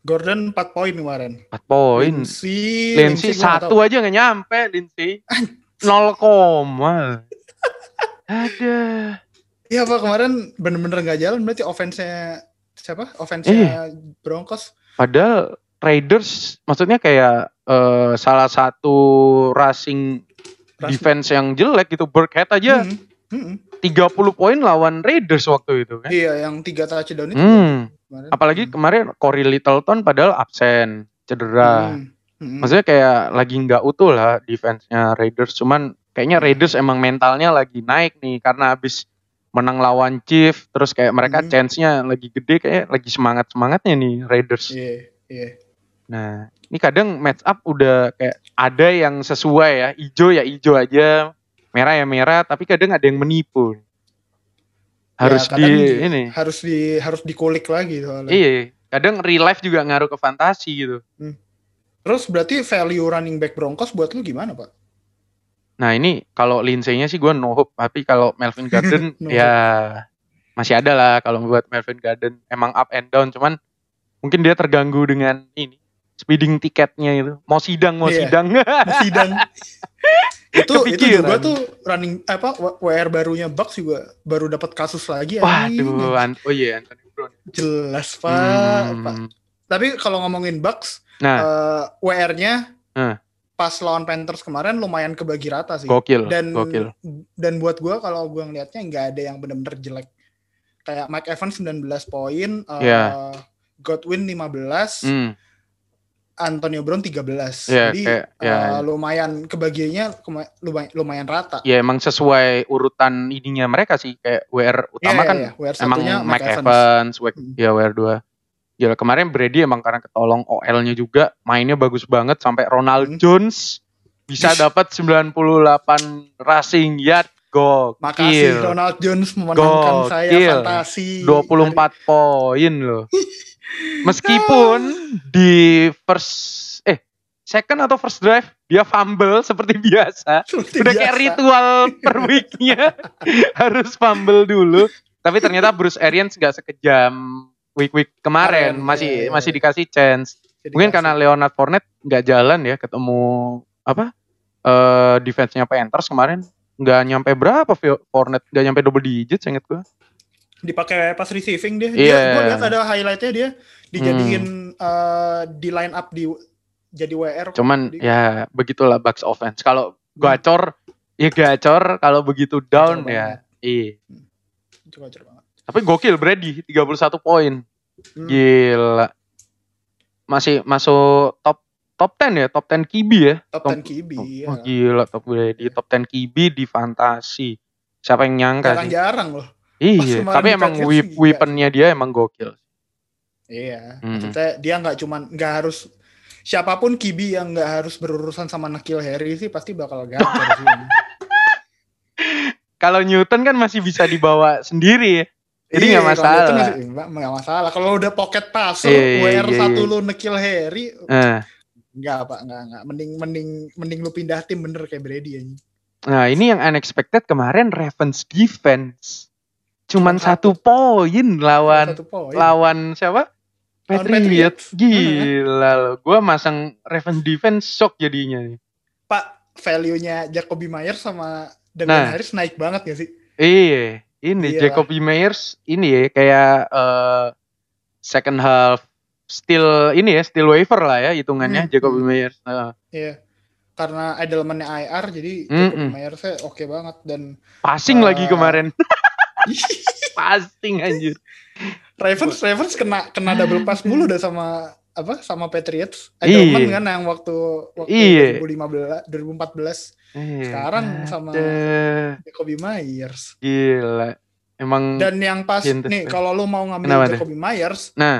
A: Gordon 4 poin kemarin.
B: 4 poin.
A: Lindsey,
B: Lindsay
A: gua nggak tahu.
B: satu aja nggak nyampe Lindsay. 0 koma. Ada.
A: Iya pak kemarin bener-bener nggak jalan berarti offense-nya siapa?
B: Iya.
A: Offense-nya Broncos.
B: Padahal Raiders maksudnya kayak eh, salah satu rushing
A: Rushing.
B: defense yang jelek gitu. Burkhead aja
A: Hmm. Mm-mm. Mm-mm.
B: 30 poin lawan Raiders waktu itu kan.
A: Iya yang tiga touchdown itu
B: Hmm,
A: kemarin.
B: Apalagi
A: Hmm.
B: kemarin Corey Littleton padahal absen, cedera.
A: Hmm. Hmm.
B: Maksudnya kayak lagi nggak utuh lah defense-nya Raiders. Cuman kayaknya
A: Hmm.
B: Raiders emang mentalnya lagi naik nih karena abis menang lawan Chief, terus kayak mereka
A: Hmm.
B: chance-nya lagi gede kayak lagi semangat-semangatnya nih Raiders.
A: Iya, iya.
B: Nah, ini kadang match up udah kayak ada yang sesuai ya, ijo ya ijo aja, merah ya merah, tapi kadang ada yang menipu. Harus
A: Ya,
B: di
A: kadang
B: ini.
A: Harus di harus dikulik lagi soalnya.
B: Iya, kadang real life juga ngaruh ke fantasi gitu.
A: Terus berarti value running back Broncos buat lu gimana, Pak?
B: Nah, ini kalau Lindsay-nya sih gua no hope, tapi kalau Melvin Garden
A: No
B: ya masih ada lah kalau buat Melvin Garden emang up and down cuman mungkin dia terganggu dengan ini speeding tiketnya itu. Mau sidang, mau
A: Iya.
B: sidang.
A: Sidang. itu itu
B: Kepikiran.
A: juga tuh running apa W- WR barunya Bucks juga baru dapat kasus lagi anjing.
B: Waduh, an- oh iya Anthony Brown.
A: jelas Pak. Pak.
B: Hmm.
A: Tapi kalau ngomongin Bucks,
B: Nah,
A: eh, WR-nya
B: Eh.
A: pas lawan Panthers kemarin lumayan kebagi rata sih. Eh,
B: Gokil,
A: dan
B: gokil.
A: dan buat gua kalau gua ngelihatnya nggak ada yang benar-benar jelek. Kayak Mike Evans 19 poin, eh,
B: Iya.
A: Godwin 15,
B: Hmm,
A: Antonio Brown 13.
B: Iya,
A: Jadi
B: kayak- iya,
A: eh,
B: iya.
A: lumayan kebagiannya kema- lumayan, lumayan rata.
B: ya emang sesuai urutan ininya mereka sih kayak WR utama
A: Iya,
B: kan
A: iya, iya. WR
B: emang
A: satunya
B: Mike, Evans, Wake-
A: Hmm.
B: ya WR 2. Gila kemarin Brady emang karena ketolong OL-nya juga mainnya bagus banget sampai Ronald
A: Hmm.
B: Jones bisa
A: Ish.
B: dapat 98 rushing yard gokil.
A: Makasih Ronald Jones memenangkan saya
B: Gokil.
A: fantasi.
B: 24 poin loh. Meskipun di first eh second atau first drive dia fumble seperti biasa.
A: Seperti
B: udah
A: biasa.
B: kayak ritual per weeknya harus fumble dulu tapi ternyata Bruce Arians nggak sekejam week week
A: Kemarin,
B: kemarin masih
A: iya, iya,
B: masih
A: iya.
B: dikasih chance
A: Jadi
B: mungkin
A: kasih.
B: karena Leonard Fournette nggak jalan ya ketemu apa eh defense-nya Panthers kemarin nggak nyampe berapa Fio- Fournette nggak nyampe double digit inget gua
A: dipakai pas receiving dia.
B: Iya. Hmm.
A: Dia gue lihat ada highlightnya dia dijadiin eh, di line up di jadi WR.
B: cuman
A: Di-
B: ya begitulah Bucks offense kalau gacor ya gacor kalau begitu
A: Gacor
B: down ya iya
A: Itu wajar banget.
B: tapi gokil Brady 31 poin
A: Hmm.
B: Gila. Masih masuk top top 10 ya, top 10 kibi ya.
A: Top
B: Top-
A: 10 kibi.
B: Oh,
A: ya.
B: wah, gila top
A: Iya.
B: Brady, top 10 kibi di fantasi. Siapa yang nyangka sih?
A: Jarang-jarang loh.
B: Iya,
A: kemarin
B: tapi
A: di
B: emang
A: Patriots
B: whip,
A: juga.
B: weaponnya dia emang gokil.
A: Iya.
B: Mm-mm.
A: Maksudnya dia nggak cuman nggak harus siapapun kibi yang nggak harus berurusan sama Nakil Harry sih pasti bakal gacor sih.
B: Kalau Newton kan masih bisa dibawa sendiri ya. Jadi
A: Iya,
B: nggak masalah.
A: kalau itu nggak- nggak- nggak masalah. Kalau udah pocket passer,
B: Iya, iya,
A: WR
B: iya,
A: satu
B: iya.
A: lu nekil Harry,
B: Nah,
A: nggak pak, nggak nggak. Mending mending mending lu pindah tim bener kayak Brady ya.
B: nah ini yang unexpected kemarin Ravens defense.
A: Cuman
B: Cuman satu poin lawan
A: Satu poin.
B: lawan siapa?
A: Lawan
B: Patriots.
A: Patriots.
B: Gila loh. Gue masang Raven Defense shock jadinya nih.
A: Pak, value-nya Jacoby Myers sama Damian
B: Nah.
A: Harris naik banget gak sih?
B: Iya, ini
A: Iyalah.
B: Jacoby Meyers ini ya kayak eh, second half still ini ya still waiver lah ya hitungannya
A: Hmm,
B: Jacoby
A: hmm.
B: Meyers. Nah,
A: Iya. Karena Edelman-nya IR jadi Jacoby
B: Mm-mm.
A: Myers-nya oke banget dan
B: passing
A: Eh.
B: lagi kemarin. passing anjir.
A: Ravens Ravens kena kena double pass mulu udah sama apa sama Patriots. Edelman
B: Iya.
A: kan yang waktu waktu
B: Iya.
A: 2015 2014
B: Iya,
A: Sekarang sama-
B: aduh,
A: Jacoby Myers.
B: gila. Emang
A: Dan yang pas
B: Cinta.
A: nih kalau lu mau ngambil
B: Hmm. Iya, Kenapa tuh?
A: Jacoby Myers,
B: nah,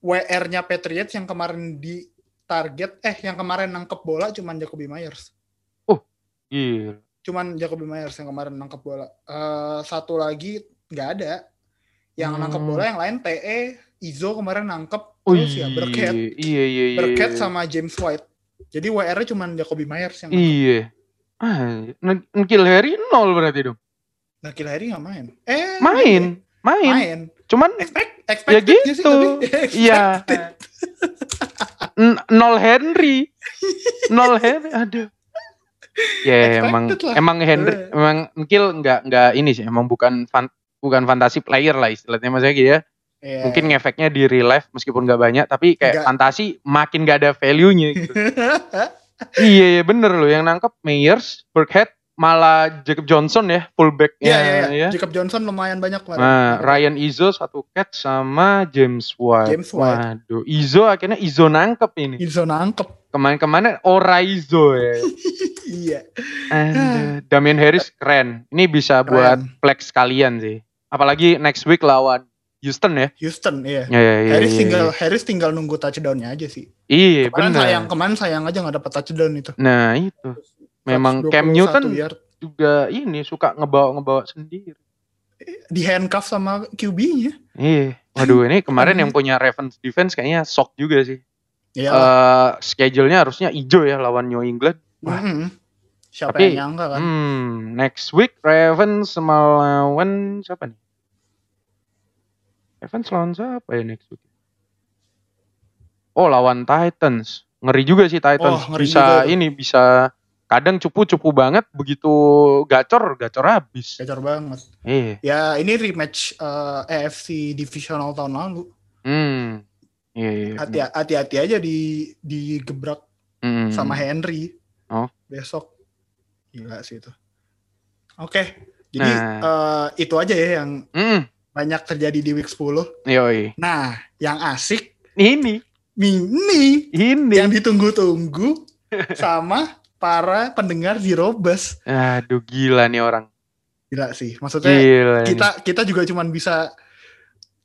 A: WR-nya Patriots yang kemarin di target eh yang kemarin nangkep bola cuman Jacoby Myers.
B: gila.
A: cuman Jacoby Myers yang kemarin nangkep bola. Eh satu lagi nggak ada. Yang
B: Hmm.
A: nangkep bola yang lain TE, Izo kemarin nangkep terus ya
B: Wih,
A: Burkhead,
B: Iya, iya, iya.
A: Burkhead sama James White. Jadi WR-nya cuman Jacoby Myers yang nangkep.
B: Iya. Ah, N- Nkil Harry nol berarti dong.
A: Nah, Kill Harry nggak main. Eh,
B: Main,
A: main.
B: main.
A: Main.
B: Cuman
A: Expect, expected
B: Ya
A: nggak sih,
B: gitu.
A: tapi?
B: iya. N- nol Henry. Nol Henry. Aduh.
A: Expected
B: Ya emang
A: lah.
B: emang Henry
A: Eh.
B: emang Nkil nggak nggak ini sih emang bukan fan, bukan fantasi player lah istilahnya maksudnya gitu ya.
A: Iya.
B: Mungkin ngefeknya di real life meskipun nggak banyak tapi kayak
A: Nggak.
B: fantasi makin nggak ada value-nya gitu. iya, iya bener loh yang nangkep Meyers, Burkhead, malah Jacob Johnson ya fullbacknya
A: Iya, iya, iya.
B: ya.
A: Jacob Johnson lumayan banyak lah.
B: Nah, Ryan Izzo satu catch sama James White.
A: James White.
B: Waduh, Izzo akhirnya Izzo nangkep ini.
A: Izzo nangkep.
B: Kemarin-kemarin Ora Izzo ya.
A: Iya.
B: Aduh, Damian Harris keren. Ini bisa
A: Keren.
B: buat flex kalian sih. Apalagi next week lawan Houston ya.
A: Houston, iya.
B: Ya, ya, ya,
A: Harris
B: ya,
A: tinggal
B: ya.
A: Harris tinggal nunggu touchdown-nya aja sih.
B: Iya,
A: Kemarin
B: benar.
A: sayang kemarin sayang aja nggak dapat touchdown itu.
B: Nah, itu. Memang Cam
A: 121
B: Newton
A: yard.
B: juga ini suka ngebawa-ngebawa sendiri.
A: di handcuff sama QB-nya.
B: Iya. Waduh, ini kemarin yang punya Ravens defense kayaknya shock juga sih.
A: Iya.
B: Eh, schedule-nya harusnya hijau ya lawan New England. wah.
A: Mm-mm. Siapa
B: Tapi-
A: yang nyangka kan?
B: Hmm, next week Ravens melawan siapa nih? Ravens lawan siapa ya next week? Oh, lawan Titans. Ngeri juga sih Titans.
A: Oh, ngeri juga
B: bisa
A: itu.
B: ini bisa kadang cupu-cupu banget begitu gacor, gacor habis.
A: Gacor banget.
B: Iya.
A: Ya ini rematch eh, AFC divisional tahun lalu.
B: Hmm. Iya, iya.
A: Hati- Hati-hati aja di digebrak
B: Hmm.
A: sama Henry.
B: Oh.
A: Besok. Gila sih itu. Oke. Jadi
B: Nah.
A: eh, itu aja ya yang
B: Hmm.
A: banyak terjadi di week 10.
B: Yoi.
A: Nah, yang asik
B: Ini,
A: mini
B: ini.
A: yang ditunggu-tunggu sama para pendengar Zero Bus.
B: Aduh, gila nih orang.
A: Gila sih. Maksudnya
B: Gila. nih.
A: kita kita juga cuman bisa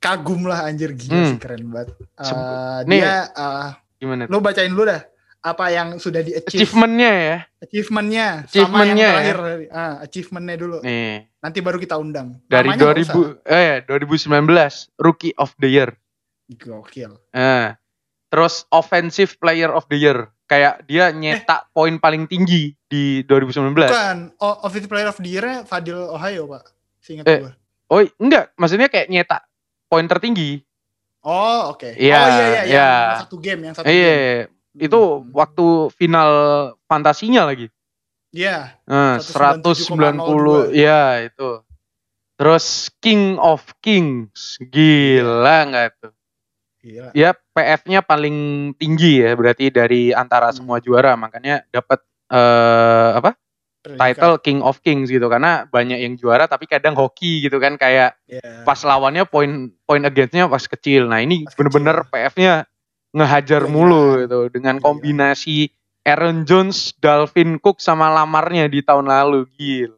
A: kagum lah anjir gila
B: Hmm.
A: sih keren banget. Eh,
B: Sem- Nih.
A: dia eh,
B: Gimana?
A: lu bacain dulu dah apa yang sudah di achieve
B: Achievementnya ya.
A: achievementnya sama yang
B: Achievementnya ya.
A: terakhir Ah, achievementnya dulu
B: Nih.
A: nanti baru kita undang
B: dari
A: Namanya nggak
B: 2000 eh 2019 rookie of the year.
A: usah. gokil
B: Eh, terus offensive player of the year. Kayak dia nyetak poin paling tinggi di 2019.
A: Eh. bukan o- office player of the year Fadil Ohio pak seingat
B: Eh.
A: gua
B: Oh, enggak, maksudnya kayak nyetak poin tertinggi.
A: oh oke
B: Iya,
A: oh iya iya
B: iya.
A: yang satu game yang satu
B: Iya,
A: game Hmm.
B: itu waktu final fantasinya lagi.
A: iya
B: Eh,
A: 197,02.
B: 190 ya itu. Terus King of Kings. Gila nggak tuh?
A: gila
B: Ya PF-nya paling tinggi ya berarti dari antara
A: Hmm.
B: semua juara makanya dapat eh apa
A: Predikat.
B: title King of Kings gitu karena banyak yang juara tapi kadang hoki gitu kan kayak
A: Iya.
B: pas lawannya poin poin against-nya pas kecil. Nah ini
A: Pas Iya.
B: bener-bener PF-nya ngehajar
A: Gila.
B: mulu gitu dengan
A: Gila.
B: kombinasi Aaron Jones, Dalvin Cook sama Lamarnya di tahun lalu gila.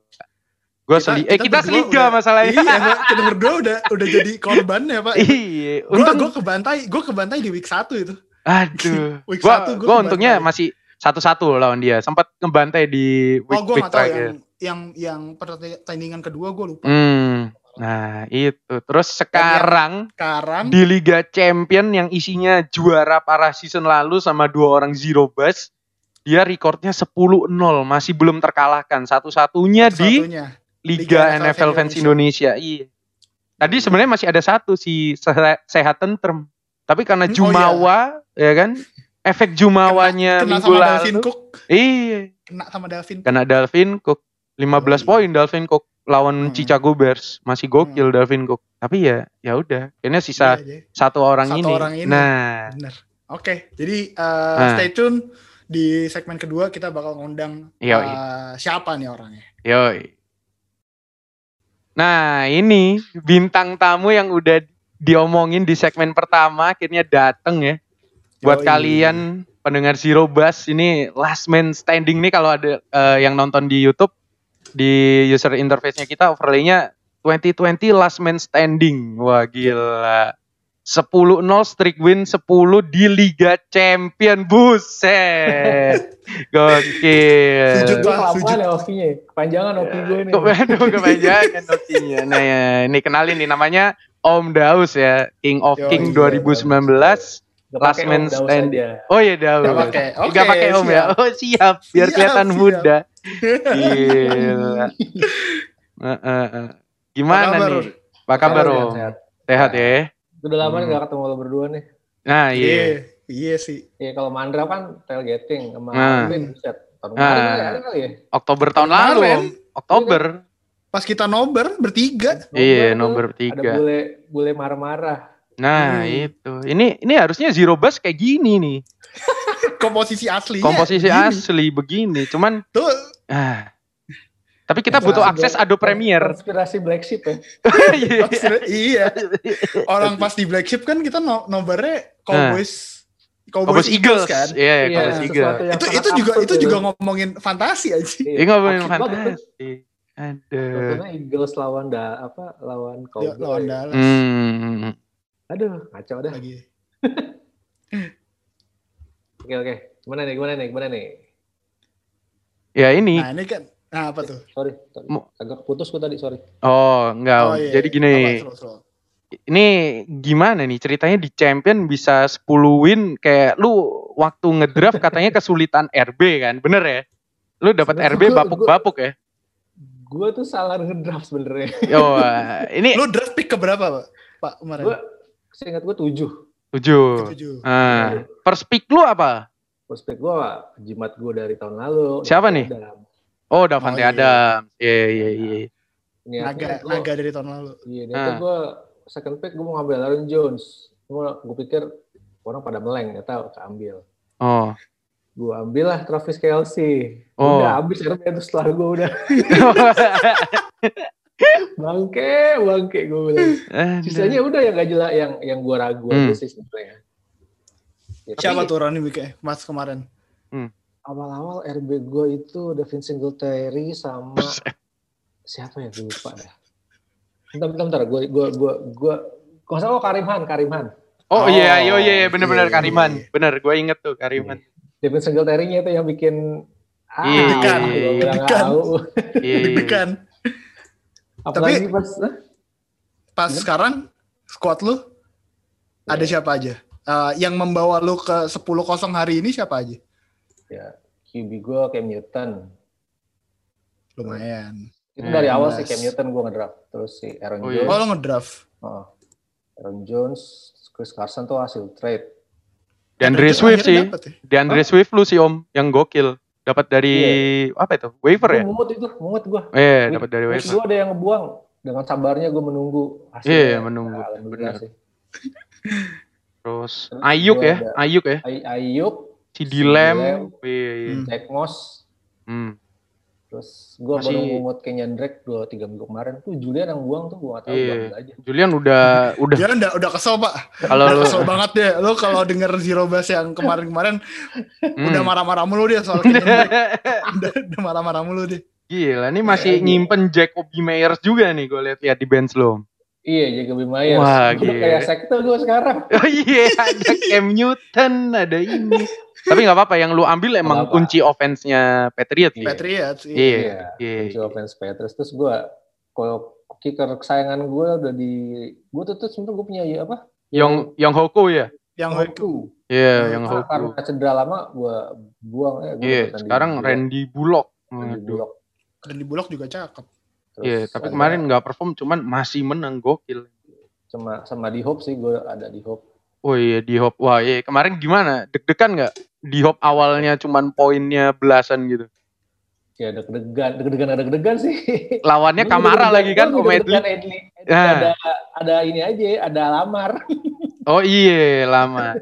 B: Gue
A: Kita-
B: seli eh
A: berdua
B: kita seliga
A: udah-
B: masalahnya.
A: iya Pak. kita berdua udah udah jadi korbannya pak
B: ya. Iya,
A: Gua,
B: untung
A: gua kebantai, gua kebantai di week 1 itu.
B: Aduh.
A: Week
B: gua,
A: satu gua
B: gua untungnya
A: kebantai.
B: masih satu-satu lawan dia. Sempat ngebantai di week,
A: oh, gua
B: week
A: nggak tahu
B: terakhir.
A: yang yang yang pertandingan kedua gua lupa.
B: Hmm. Nah, itu. Terus sekarang
A: Sekarang
B: di Liga Champion yang isinya juara para season lalu sama dua orang zero bus, dia rekornya 10-0, masih belum terkalahkan. Satu-satunya di
A: satunya.
B: Liga,
A: Liga
B: NFL Fans Indonesia. Iya. Tadi
A: Hmm.
B: sebenarnya masih ada satu si Se- sehat tentrem. Tapi karena
A: Hmm, oh
B: Jumawa, ya kan? Efek Jumawanya
A: kena
B: minggu
A: sama
B: lalu.
A: Dalvin Cook,
B: Iya.
A: kena sama Dalvin. Cook.
B: Karena Dalvin Cook 15
A: Yoi.
B: poin Dalvin Cook lawan
A: Iya. Hmm.
B: Chicago Bears masih gokil Dalvin Cook. Tapi ya ya udah, kayaknya sisa
A: Iya, iya.
B: satu orang
A: Satu
B: ini.
A: orang ini.
B: Nah,
A: Bener. Oke, jadi uh,
B: Nah.
A: stay tune di segmen kedua kita bakal ngundang
B: Yoi.
A: uh, siapa nih orangnya.
B: yoi. Nah, ini bintang tamu yang udah diomongin di segmen pertama akhirnya dateng ya. Buat
A: Yoi.
B: kalian pendengar Zero Bus ini last man standing nih kalau ada eh, yang nonton di YouTube di user interface-nya kita overlay-nya 2020 last man standing. Wah, gila. 10-0 streak win 10 di Liga Champion. Buset.
A: Sujud
B: Gokil.
A: Wah,
C: kelamaan
A: sujud.
C: ya hokinya ya. Kepanjangan hoki
B: Iya.
C: gue nih.
B: Aduh, kepanjangan hokinya. Nah, ya, ini kenalin nih namanya Om Daus ya, King of
A: Yo,
B: King
A: iya,
B: 2019.
C: Gak
B: Last
C: pakai
B: man
C: Om Daus
B: stand.
C: aja.
B: Oh iya Daus.
A: Gak pakai. Oke.
B: Gak pakai om ya.
A: siap.
B: Oh siap, biar
A: Siap,
B: kelihatan
A: siap.
B: muda. Gila. Eh, eh, eh. Gimana
A: Apa kabar,
B: nih? Apa kabar
C: Sehat,
B: om?
C: sehat.
B: Sehat ya.
C: Udah lama
B: Hmm.
C: nih gak ketemu lo berdua nih.
B: Nah
A: Iya,
B: iya.
A: iya sih.
C: Ya kalau Mandra kan tailgating sama
B: Nah.
C: Alvin buset. Tahun
B: Nah.
C: kemarin nggak ada kali ya.
B: Oktober tahun lalu
A: Kemarin.
B: om. Oktober.
A: Pas kita nobar bertiga,
B: Iya nomor
C: Nomor tuh Ada
B: tiga.
C: bule bule marah-marah.
B: Nah
A: Hmm.
B: itu. Ini ini harusnya zero bus kayak gini nih.
A: komposisi aslinya.
B: Komposisi
A: Iya, gini.
B: asli begini. Cuman
A: Tuh,
B: ah, Tapi kita
A: Konspirasi
B: butuh
A: gua-
B: akses Adobe Premiere.
C: Konspirasi black sheep ya.
B: Iya.
A: iya. Orang pas di Black Sheep kan kita no nomornya Cowboys
B: Cowboys Nah. Oh, Eagles
A: kan.
B: Iya, Cowboys Eagles.
C: sesuatu yang
A: Itu
C: sangat
A: itu juga
C: absurd ya.
A: itu juga ngomongin fantasi aja.
C: Iya.
B: Ini ngomongin
C: Maksud gua betul-
B: fantasi. Aduh.
C: Tentunya Eagles lawan da, apa lawan
A: Ya,
C: Cowboys.
A: lawan Dallas
B: Hmm.
C: Aduh, kacau dah.
A: lagi.
C: Oke oke. Gimana nih? Gimana nih? Gimana nih?
B: Ya ini.
A: Nah, ini kan nah apa tuh?
C: Sorry, sorry.
B: Mu-
C: agak putus gua tadi, sorry.
B: Oh, enggak. Om.
A: iya.
B: Jadi gini.
A: Apa, slow, slow.
B: Ini gimana nih ceritanya di champion bisa 10 win kayak lu waktu ngedraft katanya kesulitan RB kan. Bener ya? Lu dapat
C: Sebenarnya
B: RB
C: gua-
B: bapuk-bapuk ya?
C: Gua tuh salah ngedraft sebenarnya.
B: Oh, ini
A: Lu draft pick ke berapa, Pak? Pak kemarin.
C: Gua seingat gua 7.
B: 7.
A: Ketujuh.
B: Ah, first pick lu apa?
C: Prospek gua jimat gua dari tahun lalu.
B: Siapa nih?
C: Adam.
B: Oh,
A: Oh,
B: Davante
A: iya.
B: Adams. Iya, iya, iya.
C: Niatnya
A: Naga,
C: gua-
A: naga dari tahun lalu.
C: Iya, niatnya
B: Ah.
C: gua second pick gua mau ngambil Aaron Jones. Cuma gua pikir orang pada meleng, nggak tahu keambil.
B: Oh.
C: Gua ambil lah Travis Kelsey.
B: Oh.
C: Udah habis RB itu setelah gua udah bangke, bangke gua bilang. Sisanya udah yang gak jelas yang yang gua ragu
B: Hmm.
C: aja sih sebenarnya. Ya,
A: Siapa
C: tapi
A: tuh Ronnie Mike? Mas kemarin.
C: Awal-awal RB gua itu Devin Singletary sama siapa ya gue lupa dah. Bentar, bentar, bentar. Gue, gue, gue, gue. Kalau salah oh, Karimhan, Karimhan.
B: Oh iya, iya, iya, iya, bener-bener
A: iya, iya,
B: Kariman.
A: iya.
B: Bener, gue inget tuh Kariman.
C: Devin Singletary-nya itu yang bikin
B: Iya,
A: Deg-degan.
C: gue bilang nggak
A: Deg-degan.
C: tahu.
B: Iya, iya.
A: Deg-degan.
C: Apalagi pas, eh? hah?
A: Pas
B: Hmm.
A: sekarang squad lu ada
B: Iya.
A: siapa aja? Eh, yang membawa lu ke 10-0 hari ini siapa aja?
C: ya QB gue Cam Newton.
A: Lumayan.
C: Itu
B: Hmm,
C: dari awal sih
A: nice.
C: Cam Newton gue ngedraft. Terus si Aaron
B: Oh, iya.
C: Jones.
A: Oh, lu ngedraft.
C: Oh. Aaron Jones, Chris Carson tuh hasil trade.
B: Deandre
A: Akhirnya
B: Swift sih.
A: dapet ya.
B: Deandre Swift lu sih om, yang gokil. Dapat dari, apa itu, waiver
C: Gue
B: ya?
C: mungut itu, mungut gue.
B: Eh,
C: Wih,
B: dapat dari
C: Terus
B: waiver.
C: gue ada yang ngebuang. Dengan sabarnya gue menunggu
B: Iya, menunggu.
C: Nah, alhamdulillah
B: Benar.
C: sih.
B: Terus,
C: Terus
B: Ayuk
C: gua
B: ya,
C: ada-
B: Ayuk ya.
C: Ay- Ayuk,
B: CD Lamb.
C: Lamb.
B: Iya, iya.
A: Hmm.
C: Jack Moss,
B: Hmm.
C: Terus gue
B: Masih-
C: baru ngungut Kenyan Drake 2-3 minggu kemarin. Tuh Julian yang buang tuh gue gak tau
B: Iya.
C: gue ambil aja.
B: Julian udah, udah.
A: Dia udah, udah kesel, Pak.
B: Kalau
A: Udah
B: lu,
A: kesel banget deh. Lu kalau denger Zero Bass yang kemarin-kemarin, udah
B: Hmm.
A: marah-marah mulu dia soal Kenyon Drake. udah, udah marah-marah mulu deh.
B: Gila, ini masih
C: Iya, iya.
B: nyimpen Jacoby Meyers juga nih gue lihat ya di bench lo.
C: Iya Jacoby Myers.
B: Wah,
C: Gua
B: gila.
C: kayak sekte gue sekarang.
B: Oh iya, ada Cam Newton, ada ini. Tapi nggak apa-apa, yang lu ambil emang
C: Nggak apa.
B: kunci offense-nya Patriot.
C: Iya.
A: Patriots. iya.
B: Iya, iya.
C: Joe Vance Petrus. Terus gue, kalau kicker kesayangan gue udah di... Gue tuh tuh sebenernya gue punya ya, apa?
B: Yang yang Hoku ya?
A: Yang
C: Hoku.
B: Iya,
A: Yang
B: yang
C: Karena,
B: Hoku.
C: karena cedera lama gue buang.
B: Iya,
C: Eh, gua dapetan di-
B: sekarang
C: di-
B: Randy Bullock.
C: di
B: Waduh.
C: blok.
A: dan di Bulog juga cakep.
C: Terus
B: Iya, tapi
C: ada
B: kemarin nggak perform, cuman masih menang gokil.
C: Cuma, sama di Hope sih gue ada di Hope.
B: Oh iya, di hop. Wah, iya. kemarin gimana? Deg-degan nggak? Di hop awalnya cuman poinnya belasan gitu.
C: Ya deg-degan, deg-degan, deg-degan sih.
B: Lawannya Kamara lagi kan,
C: Gua
B: Omedli.
C: deg-degan Edli.
B: Nah.
C: Ada ada ini aja, ada lamar.
B: Oh iya, lama.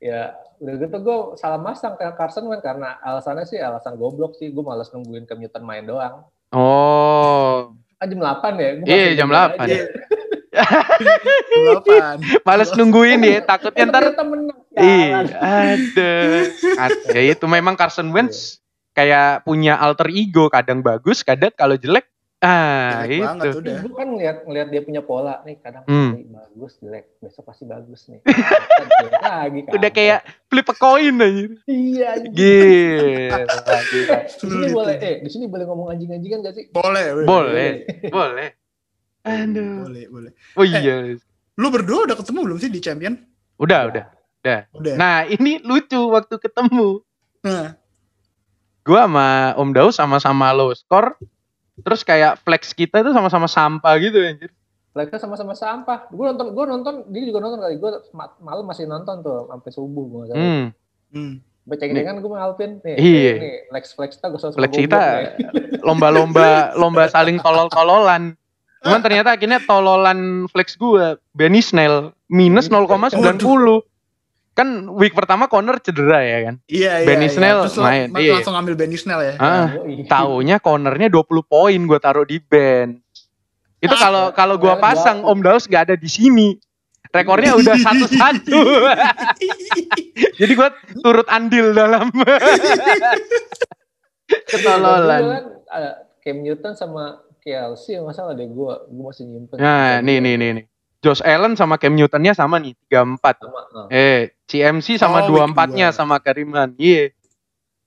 C: Ya, udah gitu gue salah masang Kyle Carson kan karena alasannya sih alasan goblok sih. Gue malas nungguin Cam Newton main doang.
B: Oh,
C: Ah, jam 8 ya? Gua
B: Iya,
C: masukin
B: jam
C: aja.
B: 8.
A: Iya. Delapan.
B: males nungguin ya, takutnya
C: Eh,
B: ntar.
C: ternyata menang.
B: Iya,
C: Jalan.
B: ada. Ad- Ya itu memang Carson Wentz kayak punya alter ego, kadang bagus, kadang kalau jelek ah
A: Jelek banget
B: itu.
A: udah.
C: Gue kan ngeliat, ngeliat dia punya pola nih kadang
B: Hmm.
C: ini bagus jelek besok pasti bagus nih Jelek lagi kan.
B: Udah kayak flip a coin anjir.
C: iya anjing.
B: Gila, gila.
C: di sini boleh eh di sini boleh ngomong anjing-anjingan gak sih
A: Boleh. weh.
B: Boleh, boleh. Aduh.
A: Boleh, boleh.
B: Oh iya.
A: Lu berdua udah ketemu belum sih di champion?
B: Udah, udah.
A: Udah.
B: Nah, ini lucu waktu ketemu.
A: Nah,
B: gua sama Om Daus sama-sama low score terus kayak flex kita itu sama-sama sampah gitu anjir
C: Mereka kan sama-sama sampah. Gue nonton, gue nonton, dia juga nonton kali. Gue malam masih nonton tuh sampai subuh gue nggak salah.
B: hmm.
A: hmm.
C: Baca ini kan gue sama Alvin nih.
B: Iya.
C: Nih, Lex Flex kita gue sama
B: flex kita lomba-lomba lomba saling tolol-tololan cuman ternyata akhirnya tololan flex gua Benny Snell minus 0,90 kan week pertama Connor cedera ya kan.
A: Iya, iya.
B: Benny
A: iya.
B: Snell
A: Terus lo-
B: main,
A: ma-
B: iya.
A: langsung ambil Benny Snell ya.
B: Ah,
C: Nah, Yoi.
B: taunya cornernya 20 poin gue taruh di bench. Itu
A: Ah,
B: kalau kalau gue pasang Om Daus gak ada di sini. Rekornya udah satu-satu. Jadi gue turut andil dalam
C: Gua
B: ketololan.
C: kan, ada Cam Newton sama KLC yang masalah deh gue gue masih nyimpen
B: Nah, nih nih nih nih. Josh Allen sama Cam Newtonnya sama nih 34.
C: sama ah.
B: Eh, CMC sama
A: Oh, week
B: 24-nya
A: dua.
B: sama Kariman. Iya.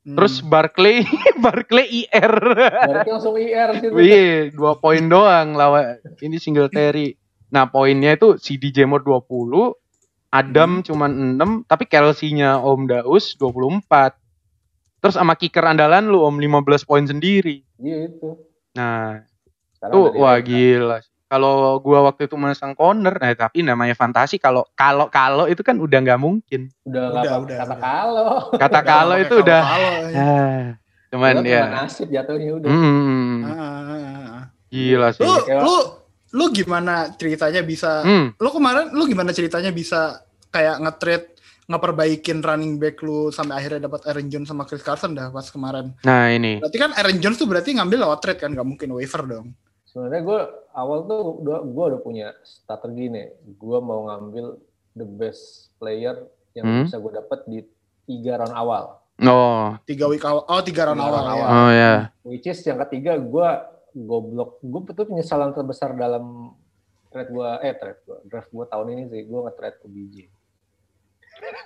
A: Hmm.
B: Terus Barkley, Barkley IR.
C: Berarti langsung IR gitu
B: Iya, dua poin doang lawan ini Singletary. Nah, poinnya itu si DJ Moore 20, Adam cuman 6, tapi Kelsey-nya Om Daus 24. Terus sama kicker andalan lu Om 15 poin sendiri.
C: Iya itu
B: Nah,
C: Sekarang
B: tuh
C: udah
B: wah
C: di-
B: gila. Kalau gua waktu itu menang corner, nah tapi namanya fantasi kalau kalau kalau itu kan udah nggak mungkin.
C: udah
A: Udah,
C: nggak
A: udah,
C: kata
A: udah.
C: kalau
B: Kata
A: Udah,
B: kalau
A: pakai ya.
B: itu udah
A: kalau-kalau.
B: ah, cuman
C: Udah
B: ya.
C: cuma nasib jatuhnya udah
B: Hmm,
A: Ah, ah, ah, ah.
B: gila sih.
A: Lu,
C: Kayak-
A: lu, lu gimana ceritanya bisa?
B: Hmm.
A: Lu kemarin, lu gimana ceritanya bisa kayak nge-trade ngeperbaikin running back lu sampai akhirnya dapat Aaron Jones sama Chris Carson dah pas kemarin.
B: Nah, ini.
A: Berarti kan Aaron Jones tuh berarti ngambil lewat trade kan, nggak mungkin waiver dong.
C: sebenarnya gue awal tuh udah gue udah punya strategi nih gue mau ngambil the best player yang
B: Hmm.
C: bisa gue dapet di tiga round awal
B: Oh,
A: Tiga week awal, oh tiga round
C: Tiga
A: awal.
C: round
A: ya.
C: awal.
B: oh ya.
C: which is yang ketiga gue goblok gue betul penyesalan terbesar dalam trade gue eh trade gue draft gue tahun ini sih gue nge-trade OBJ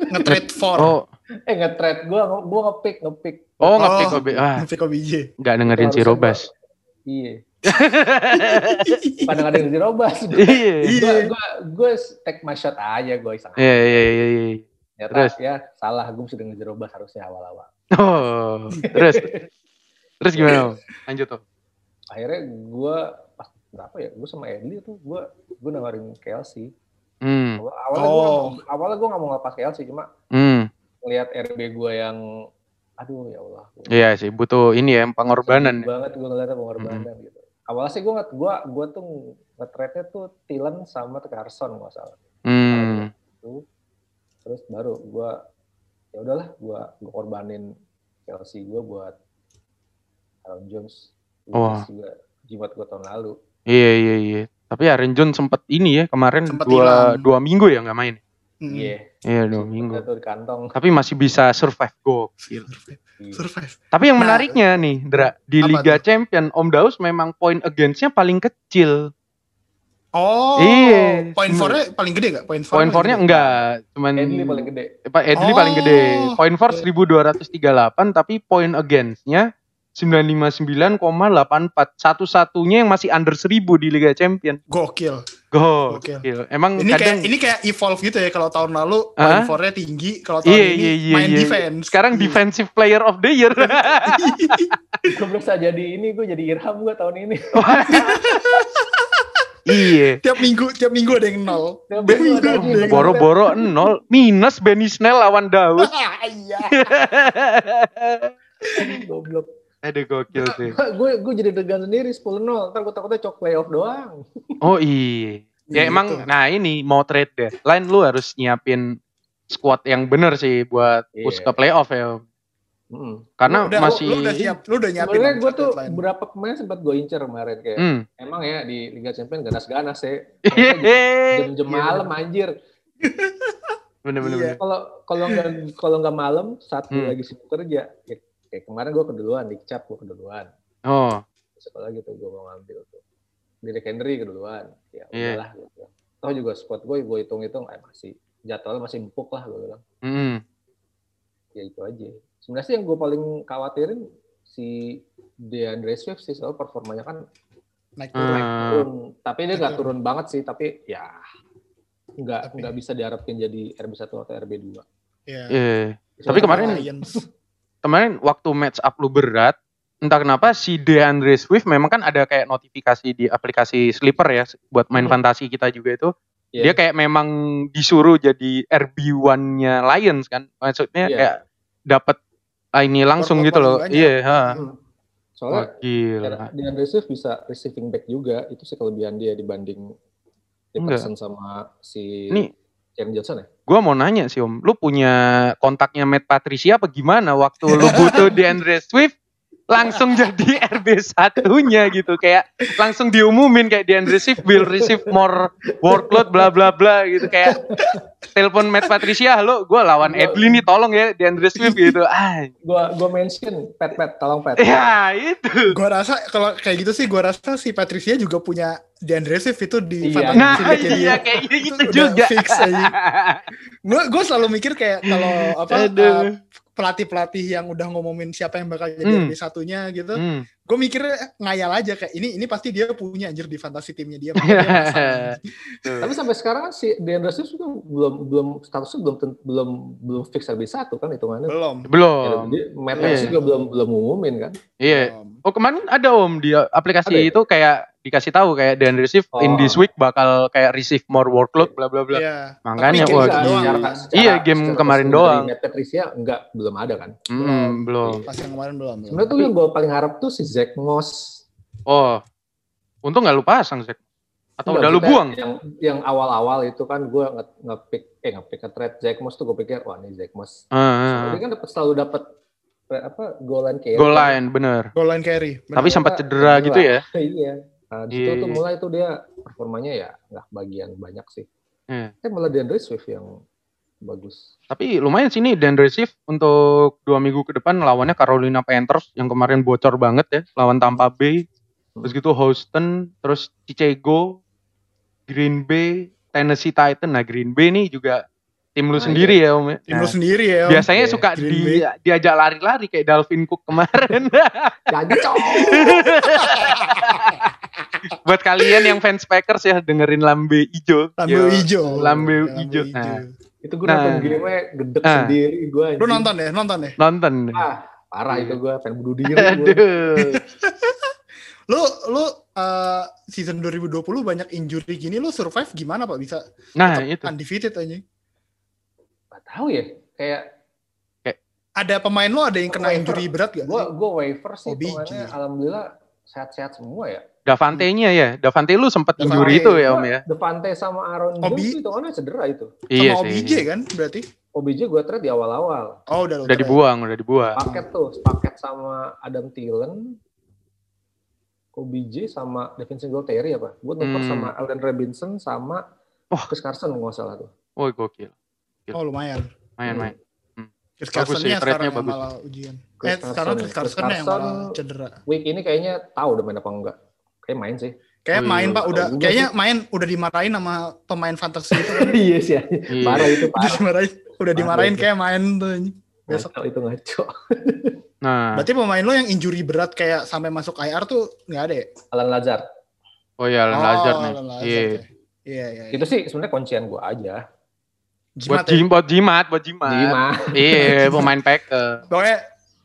A: Nge-trade for.
B: Oh,
C: eh nge-trade gue gue nge-pick nge-pick
B: oh ngepick
A: Oh.
B: OB. Ah,
A: Nge-pick OBJ.
B: enggak dengerin si
C: Harusnya
B: Robas.
C: gua- iya pada dengerin si Robas
B: Iya.
C: gue gue take my shot aja gue iseng
B: Iya, iya, iya, iya.
C: Ternyata
B: Terus?
C: ya salah gue mesti dengerin si Robas harusnya awal-awal
B: Oh, terus terus gimana? Om? Lanjut tuh.
C: akhirnya gue pas berapa ya gue sama Edli tuh gue gue nawarin Kelsey
B: Hmm.
C: Awal- awalnya gue
A: Oh.
C: awalnya gue nggak mau ngelepas Kelsey cuma
B: Hmm.
C: ngelihat RB gue yang aduh ya Allah gua-
B: Iya sih, butuh ini ya
C: sedih
B: pengorbanan.
C: banget gue ngeliatnya pengorbanan gitu awalnya sih gue ngat gue gue tuh ngetrade tuh Tilan sama Carson nggak salah
B: Hmm.
C: gitu. terus baru gue ya udahlah gue gue korbanin Chelsea gue buat Aaron Jones
B: Wah.
C: Which is juga jimat gue tahun lalu
B: Iya, iya, iya. Tapi Aaron Jones sempat ini ya kemarin
A: Sempet
B: dua
A: hilang.
B: dua minggu ya nggak main.
A: Hmm.
C: iya
B: Iya, dua
C: jimat
B: minggu.
C: gua tuh di kantong
B: Tapi masih bisa survive go.
A: Survive.
C: Iya.
A: Survive.
B: Tapi yang
A: Nah,
B: menariknya nih, Dra, di
A: apa
B: Liga Champion Om Daus memang point against-nya paling kecil.
A: Oh,
B: Iya.
A: poin fornya paling gede gak? Poin fornya
B: Poin fornya
A: paling gede?
B: enggak, cuman
C: Edley paling gede
B: Eh, Pak Edli
A: Oh.
B: paling gede. Poin for 1238 tapi poin against-nya 959,84 satu-satunya yang masih under 1000 di Liga Champion.
A: Gokil.
B: Go.
A: Gokil.
B: Emang
A: Ini kayak
B: Hmm, kadang
A: ini kayak evolve gitu ya kalau tahun lalu
B: Hah?
A: poin fornya tinggi, kalau tahun
B: Iya,
A: ini
B: iya, iya,
A: main
B: iya.
A: defense.
B: sekarang
A: Iya.
B: defensive player of the year.
C: gue berasa jadi ini gue jadi Irham gue tahun ini
B: iya.
A: tiap minggu tiap minggu ada yang nol. Tiap
C: Tiap minggu
A: minggu ada
C: ada yang
A: yang nol.
B: Boro-boro nol minus Benny Snell lawan Daud.
A: Ah, Iya.
C: goblok
B: Ada gokil sih.
C: gue gue jadi degan sendiri 10-0 ntar gue takutnya cok playoff doang
B: Oh iya. Ya
A: Iya,
B: emang
A: gitu.
B: nah ini mau trade deadline lu harus nyiapin squad yang bener sih buat push
C: Iya.
B: ke playoff ya.
C: Mm.
B: Karena
A: Udah, lu-
B: masih
A: lu, udah siap, ya? lu udah nyiapin.
C: Sebenarnya
A: dong
C: gue tuh
A: deadline.
C: berapa pemain sempat gue incer kemarin kayak
B: Hmm.
C: emang ya di Liga Champions ganas-ganas ya.
B: Iya.
C: Ternyata
B: Hehehe.
C: Jam-jam malam anjir.
B: Iya. Bener bener.
A: Iya.
B: bener.
C: Kalau kalau nggak kalau nggak malam satu
B: Hmm.
C: lagi sibuk kerja. Ya, kayak kemarin gue keduluan di cap gue keduluan.
B: Oh,
C: Sekolah gitu gue mau ngambil tuh. Derek Henry keduluan. Ya
B: Iya.
C: udahlah. Gitu. Tahu juga spot gue gue hitung-hitung eh, masih jadwal masih empuk lah gue bilang.
B: Mm-mm.
C: Ya itu aja. Sebenarnya sih yang gue paling khawatirin si DeAndre Swift sih soal performanya kan
A: naik
B: Hmm.
A: turun.
C: turun. Tapi dia nggak
A: Betul.
C: turun banget sih, tapi ya nggak
A: Tapi-
C: nggak bisa diharapkan jadi RB 1 atau RB 2
A: Iya.
B: Iya. Tapi kemarin-
A: Lions.
B: Kemarin waktu match up lu berat, entah kenapa si DeAndre Swift memang kan ada kayak notifikasi di aplikasi Sleeper ya buat main
C: Hmm.
B: fantasi kita juga itu.
C: Iya.
B: Dia kayak memang disuruh jadi RB1-nya Lions kan. Maksudnya
C: Iya.
B: kayak dapat ah, ini langsung
A: Workload
B: gitu loh.
A: paling banyak.
B: Iya, ha.
C: Soalnya
B: Wah, gila.
C: cara- dengan Swift bisa receiving back juga, itu sih kelebihan dia dibanding
B: Enggak.
C: Jefferson sama si
B: Ini
C: Cam Johnson ya?
B: Gua mau nanya sih Om, lu punya kontaknya Matt Patricia apa gimana waktu lu butuh DeAndre Swift langsung jadi RB satunya gitu kayak langsung diumumin kayak DeAndre Swift will receive more workload bla bla bla gitu kayak telepon Matt Patricia halo gue lawan Edlin nih tolong ya DeAndre Swift gitu ah
C: Gua gua mention pet pet tolong pet.
B: ya itu
A: Gua rasa kalau kayak gitu sih gua rasa si Patricia juga punya DeAndre Swift itu di
C: Iya.
A: fantasy
B: nah
A: dia jadi-
B: iya kayak gitu
A: udah
B: juga
A: fix aja. Gue gue selalu mikir kayak kalau apa
B: Aduh.
A: uh, pelatih-pelatih yang udah ngomongin siapa yang bakal jadi
B: Hmm.
A: RB satunya gitu.
B: Hmm.
A: Gue mikir ngayal aja kayak ini ini pasti dia punya anjir di fantasi timnya dia. makanya dia pasang.
C: Tapi sampai sekarang kan si DeAndre Swift juga belum belum statusnya belum ten- belum belum fix RB satu kan hitungannya. Ya,
A: Belum.
B: belum
C: Jadi Matt
B: Iya.
C: Patricia juga belum belum ngumumin kan.
B: iya
A: Belum.
B: Oh kemarin ada om di aplikasi
C: Ada ya?
B: itu kayak dikasih tahu kayak dan receive in
C: Oh.
B: this week bakal kayak receive more workload bla bla bla.
A: Iya.
B: Makanya
A: Tapi
B: wah
A: game
B: gila.
A: doang.
B: Iya, game kemarin
C: keseluruhan
B: doang.
C: dari Matt Patricia enggak belum ada kan.
B: Hmm, belum.
A: Pas yang kemarin belum. belum.
C: Sebenarnya tuh yang gue paling harap tuh si Zach Moss.
B: Oh. Untung nggak lu pasang Zek. Atau
C: Enggak,
B: udah lu
C: maksudnya
B: buang?
C: Yang yang awal-awal itu kan gue nge-pick eh nge-pick nge-trade Zach Moss tuh gue pikir wah ini Zach Moss.
B: Ah, Heeh.
C: Dia kan dapat selalu dapat eh, apa golan kayak
B: Goal line bener.
A: Goal line carry. Bener.
B: Tapi sempat cedera
C: Cedera.
B: gitu ya.
C: iya. Nah, di
B: Iya,
C: situ tuh
B: iya.
C: mulai tuh dia performanya ya nggak bagian banyak sih.
B: Iya.
C: Eh malah DeAndre Swift yang bagus.
B: Tapi lumayan sini dan receive untuk dua minggu ke depan lawannya Carolina Panthers yang kemarin bocor banget ya lawan Tampa Bay. Terus gitu Houston, terus Chicago, Green Bay, Tennessee Titan. Nah Green Bay nih juga tim lu
C: Nah,
B: sendiri ya Om. ya?
A: iya. Tim lu
B: Nah,
A: sendiri ya. Om.
B: biasanya
C: Iya,
B: suka
A: Green
B: di-
A: Bay.
B: diajak lari-lari kayak Dalvin Cook kemarin.
C: Jadi cowok.
B: Buat kalian yang fans Packers ya dengerin Lambe Ijo.
A: Lambe
B: Yo.
A: hijau.
B: Lambe hijau. Nah.
C: itu gue nonton
B: Nah.
C: game gedek
B: Nah.
C: sendiri gue.
A: Lu nonton ya, nonton ya.
B: Nonton.
C: Ah, parah itu gue pengen bunuh diri gue.
B: Iya. Aduh.
A: Lu lu uh, season 2020 banyak injury gini lu survive gimana Pak bisa
B: Nah itu.
A: undefeated aja.
C: Gak tahu ya. Kayak
A: Ada pemain lu ada yang kena
B: Iya.
A: injury berat gak?
C: gue gue waiver sih
A: OBG.
C: hitungannya alhamdulillah sehat-sehat semua ya.
B: Davante-nya ya. Davante lu sempat
A: Davante.
B: injury itu ya Om ya.
C: Devante sama Aaron
A: OB.
C: Jones itu kan cedera itu.
A: Sama
B: Iya
A: OBJ
B: sih.
A: kan berarti?
C: OBJ gue trade di awal-awal.
A: Oh udah lu
B: Udah
A: trade.
B: dibuang, udah dibuang.
C: Paket tuh, paket sama Adam Thielen, OBJ sama Devin Singletary apa? Gue nuker
B: Hmm.
C: sama Allen Robinson sama
B: Wah.
C: Chris Carson nggak salah tuh.
B: Woi gokil.
A: Oh lumayan.
B: Main-main.
A: Chris
B: Bagus sih,
A: Carson-nya
B: trade-nya
A: sekarang yang
B: bagus.
A: malah ujian.
C: Chris
A: eh sekarang
C: Carson.
A: Chris
C: Chris
A: Carson yang
C: Carson.
A: malah cedera.
C: Week ini kayaknya tahu udah main apa enggak. Kayak main sih.
A: Kayak
B: Oh, iya.
A: main Pak udah
C: Tahu juga
A: kayaknya main udah dimarahin sama pemain fantasi itu.
C: Iya sih. Parah itu
A: udah
C: parah.
A: dimarahin, udah dimarahin kayak main tuh. anjing. Besok.
C: Ngaco itu ngaco.
B: Nah,
A: Berarti pemain lo yang injury berat kayak sampai masuk IR tuh nggak ada ya?
C: Alan Lazard.
B: oh ya Alan Lazard nih.
A: Alan Lazard
B: Iya.
A: ya. Iya, iya. iya.
C: Itu sih sebenarnya kuncian gue aja.
A: Jimat ya?
B: Buat jim, buat jimat, buat jimat.
C: Lima.
B: Iya, pemain Packers.
A: Pokoknya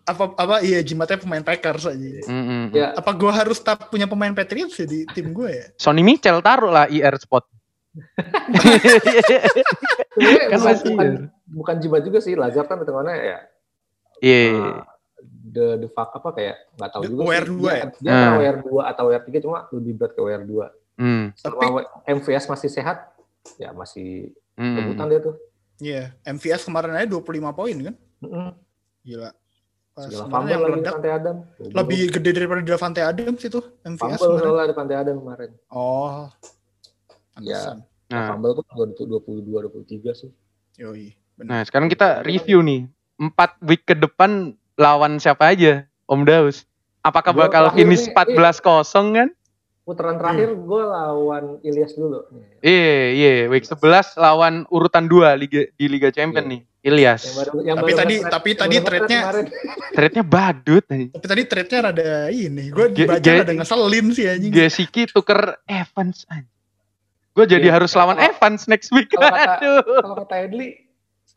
A: apa apa iya jimatnya pemain Packers aja.
B: Mm-mm.
C: Ya,
A: Apa gua harus tetap punya pemain Patriots ya di tim gue ya?
B: Sony Michel taruh lah IR spot.
C: Sebenarnya
B: Kan
C: bukan,
B: masih
C: bukan,
B: ya.
C: bukan jimat juga sih Lazard kan hitungannya ya
B: Iya.
C: uh, the the fuck apa kayak nggak tahu
A: The
C: juga
A: wear
C: sih.
A: dua
C: dia, kan
A: ya?
C: dia antara
B: Hmm.
C: wear 2 atau wear 3 cuma lebih berat ke wear 2
B: Hmm.
C: selama we- MVS masih sehat ya masih
B: Mm-mm. Nah,
C: rebutan dia tuh
A: Iya, MVS kemarin aja 25 poin kan?
C: Mm-mm.
A: Gila. Pas kemarin
C: segala fumble
A: yang
C: lagi
A: meledak
C: Devante Adam
B: kan.
A: lebih gede daripada Davante Adams itu MVS
C: fumble
A: kemarin.
C: soalnya Devante Adam kemarin
A: Oh.
B: Iya.
C: Ya.
A: Pantesan.
B: Nah,
C: fumble tuh tanggal 22 23 sih
A: Yoi.
B: nah, sekarang kita review nih. Empat week ke depan lawan siapa aja, Om Daus? Apakah
C: Gua
B: bakal
C: terakhir
B: finish
C: nih, eh.
B: 14 kosong kan?
C: putaran terakhir
B: Hmm.
C: gue lawan Ilyas dulu
B: Iya, iya. Week 11 lawan urutan 2 Liga, di Liga Champion
C: Iya.
B: nih. Ilyas.
C: yang baru yang
A: Tapi
C: baru
A: tadi-
C: nge-trade-
A: tapi
C: yang
A: tadi
C: baru nge-trade
A: trade-nya-
C: kemarin.
B: Trade-nya badut. nih.
A: Tapi tadi trade-nya rada ini. Gue
B: Ge-
A: dibaca
B: ge-
A: rada ngeselin sih anjing.
B: Gesicki tuker Evans. Gue jadi
C: Iya.
B: harus lawan
C: Kalau-
B: Evans next week.
C: kalau kata-
B: Aduh.
C: kalau kata Edli
B: Eh.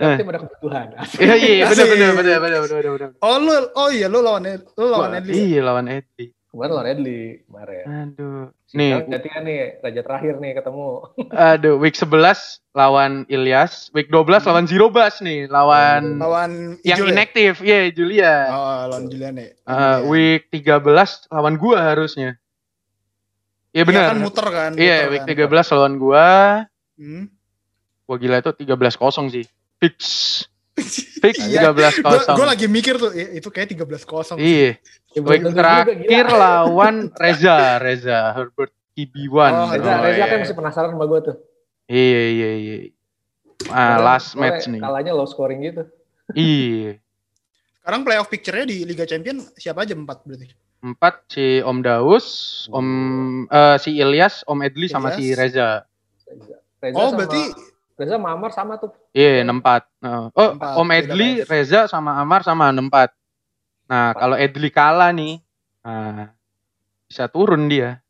C: setiap tim ada kebutuhan
B: Iya, iya, bener,
A: Asik.
B: bener, bener, bener, bener, bener.
A: Oh lu oh iya lu lawan Ed- lu lawan
C: Wah,
A: Edley. ya?
B: Iya, lawan Eddie.
C: kemarin lawan Edli kemarin
B: Aduh.
C: Nih,
B: Nih,
C: gantian nih raja terakhir nih ketemu.
B: aduh, week 11 lawan Ilyas, week 12 lawan Zero Bus nih, lawan
A: Lawan
B: yang
A: Ijo ya?
B: inaktif, iya Julia.
A: Oh, lawan Julian ya.
B: Eh, week 13 lawan gua harusnya. Iya
A: Dia
B: benar.
A: Iya kan muter kan.
B: Iya,
A: muter
B: week
A: kan.
B: 13 lawan gua,
A: Hmm.
B: Wah gila itu 13-0 sih. Fix. Fix
A: Iya.
B: 13-0.
A: Gue lagi mikir tuh, "Ih, itu kayak 13 kosong.
B: Iya. Week terakhir lawan Reza, Reza Herbert QB1.
A: Oh,
C: Reza,
A: Oh,
C: Reza kan
B: iya.
C: masih penasaran sama gue tuh.
B: Iya, iya, iya. Ah,
C: Padahal
B: last
C: gue
B: match nih.
C: Kalahnya low scoring gitu.
B: Iya.
A: Sekarang playoff picture-nya di Liga Champion siapa aja empat berarti?
B: Empat si Om Daus, Om eh, si Ilyas, Om Edli sama si
A: Ilyas.
B: Reza.
C: Reza, Reza
A: Oh
C: sama-
A: berarti
C: Reza sama Amar sama tuh.
B: Iya, nempat. Nah, Oh,
A: Nempat,
B: Om
A: beda
B: Edli,
A: match.
B: Reza sama Amar sama nempat. Nah, kalau Edli kalah nih, nah, bisa turun dia.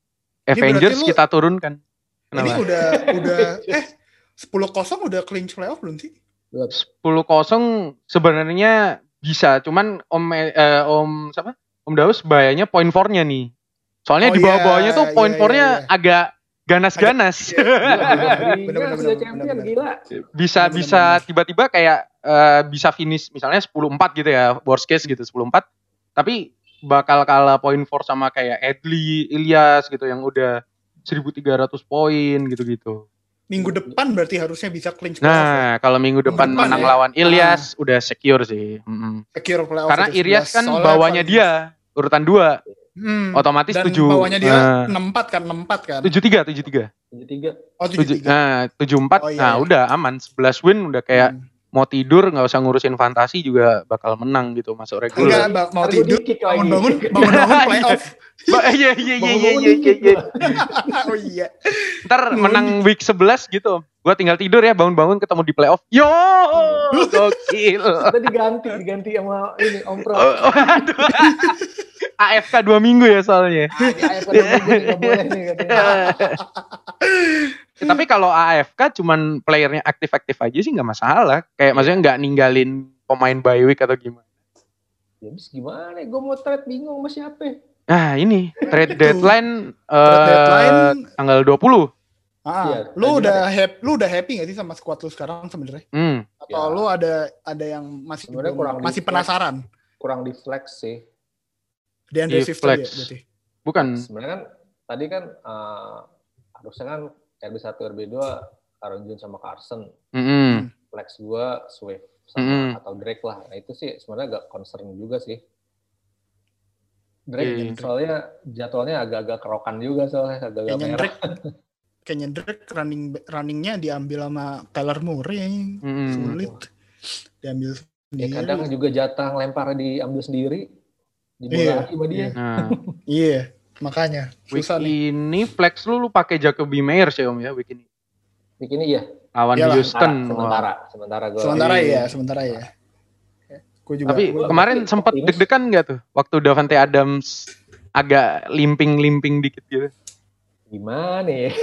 A: berarti
B: Avengers
A: lu-
B: kita turunkan.
A: ini
B: Kenapa?
A: udah udah eh 10 kosong udah clinch playoff belum sih?
B: 10-0 sebenarnya bisa, cuman Om eh, Om siapa? Om Daus bayarnya poin fornya nih. Soalnya
A: Oh,
B: di bawah-bawahnya
A: iya,
B: tuh poin
A: iya,
B: fornya
A: iya,
B: agak ganas-ganas.
C: Iya,
A: bener,
C: Bener-bener.
A: bener,
C: Liga champion
A: bener,
C: gila.
B: bisa
A: Bener-bener.
B: bisa tiba-tiba kayak eh, bisa finish misalnya 10-4 gitu ya worst case gitu 10-4 tapi bakal kalah poin for sama kayak Edli, Ilyas gitu yang udah 1300 poin gitu-gitu.
A: Minggu depan berarti harusnya bisa clinch playoff. ya.
B: Nah, kalau minggu depan
A: Minggu depan
B: menang
A: ya.
B: lawan Ilyas udah secure sih. Mm-mm.
A: Secure playoff
B: Karena
A: itu
B: Ilyas
A: 11.
B: kan
A: Soalnya
B: bawahnya
A: paling-
B: dia urutan 2,
A: Hmm.
B: otomatis
A: Dan
B: 7.
A: bawahnya dia
B: Nah,
A: 64 kan 64 kan.
B: 73 73.
C: 73.
A: Oh
B: 7,
A: 73.
B: nah, 74.
A: Oh, iya,
B: nah,
A: iya.
B: udah aman 11 win udah kayak
A: Hmm.
B: mau tidur nggak usah ngurusin fantasi juga bakal menang gitu masuk
A: enggak
B: regular.
A: ba- mau Oh,
C: Ntar gua
A: tidur
C: di-kick lagi.
A: bangun-bangun bangun-bangun playoff.
B: Ba- Iya iya iya iya
C: Bangun-bangun
B: iya iya.
C: dikit
B: iya.
C: lah.
A: oh iya.
B: Ntar menang week 11 gitu. Gua tinggal tidur ya bangun-bangun ketemu di playoff. Yo, gokil.
C: Kita diganti, diganti sama ini Om Pro.
B: Oh, aduh. AFK dua minggu ya soalnya.
C: Ah, di AFC nggak boleh nih katanya.
B: Tapi kalau AFK cuman playernya aktif-aktif aja sih nggak masalah. Kayak maksudnya nggak ninggalin pemain bye week atau gimana.
C: Ya abis gimana? Gue mau trade bingung sama siapa? ya?
B: Nah ini trade
A: Itu.
B: deadline,
A: Trade
B: eh,
A: deadline
B: tanggal 20.
A: Ah,
C: Iya,
A: lu
C: lanjut.
A: udah happy, lu udah happy gak sih sama squad lu sekarang sebenarnya?
B: Hmm.
A: Atau
C: Ya.
A: lu ada ada yang masih
C: Sebenarnya
A: belum-
C: kurang
A: masih
C: di-
A: penasaran?
C: Kurang di flex sih.
A: Di Andre
B: Di
A: Swift
B: flex.
A: tadi ya, berarti.
B: Bukan
C: Sebenarnya kan tadi kan eh, harusnya kan RB1, RB2 Aaron Jones sama Carson.
B: Mm-mm.
C: Flex gue Swift sama
B: Mm-mm.
C: atau Drake lah. Nah, itu sih sebenarnya agak concern juga sih.
B: Iya,
C: Drake
B: iya.
C: soalnya jadwalnya agak-agak kerokan juga soalnya agak-agak
A: Kayaknya
C: merah.
A: Drake kayaknya Drake running runningnya diambil sama Tyler Murray anjing.
B: Mm-mm.
A: Hmm. sulit diambil
C: Ya,
A: sendiri.
C: kadang juga jatah lempar diambil sendiri.
A: Iya.
C: Dibola lagi sama dia.
B: Nah,
A: Iya, makanya
B: week
A: susah nih.
B: ini flex lu lu pakai Jacoby Meyers ya Om ya week ini.
C: Bikin ini ya.
B: Lawan
A: Iyalah,
B: Houston. Wah.
C: Sementara, sementara, gue.
A: Sementara ya, sementara ya. Gue juga.
B: Tapi
A: gua-
B: kemarin
C: tapi
B: sempat
C: optimis.
B: deg-degan nggak tuh waktu Davante Adams agak limping-limping dikit gitu.
C: Gimana ya?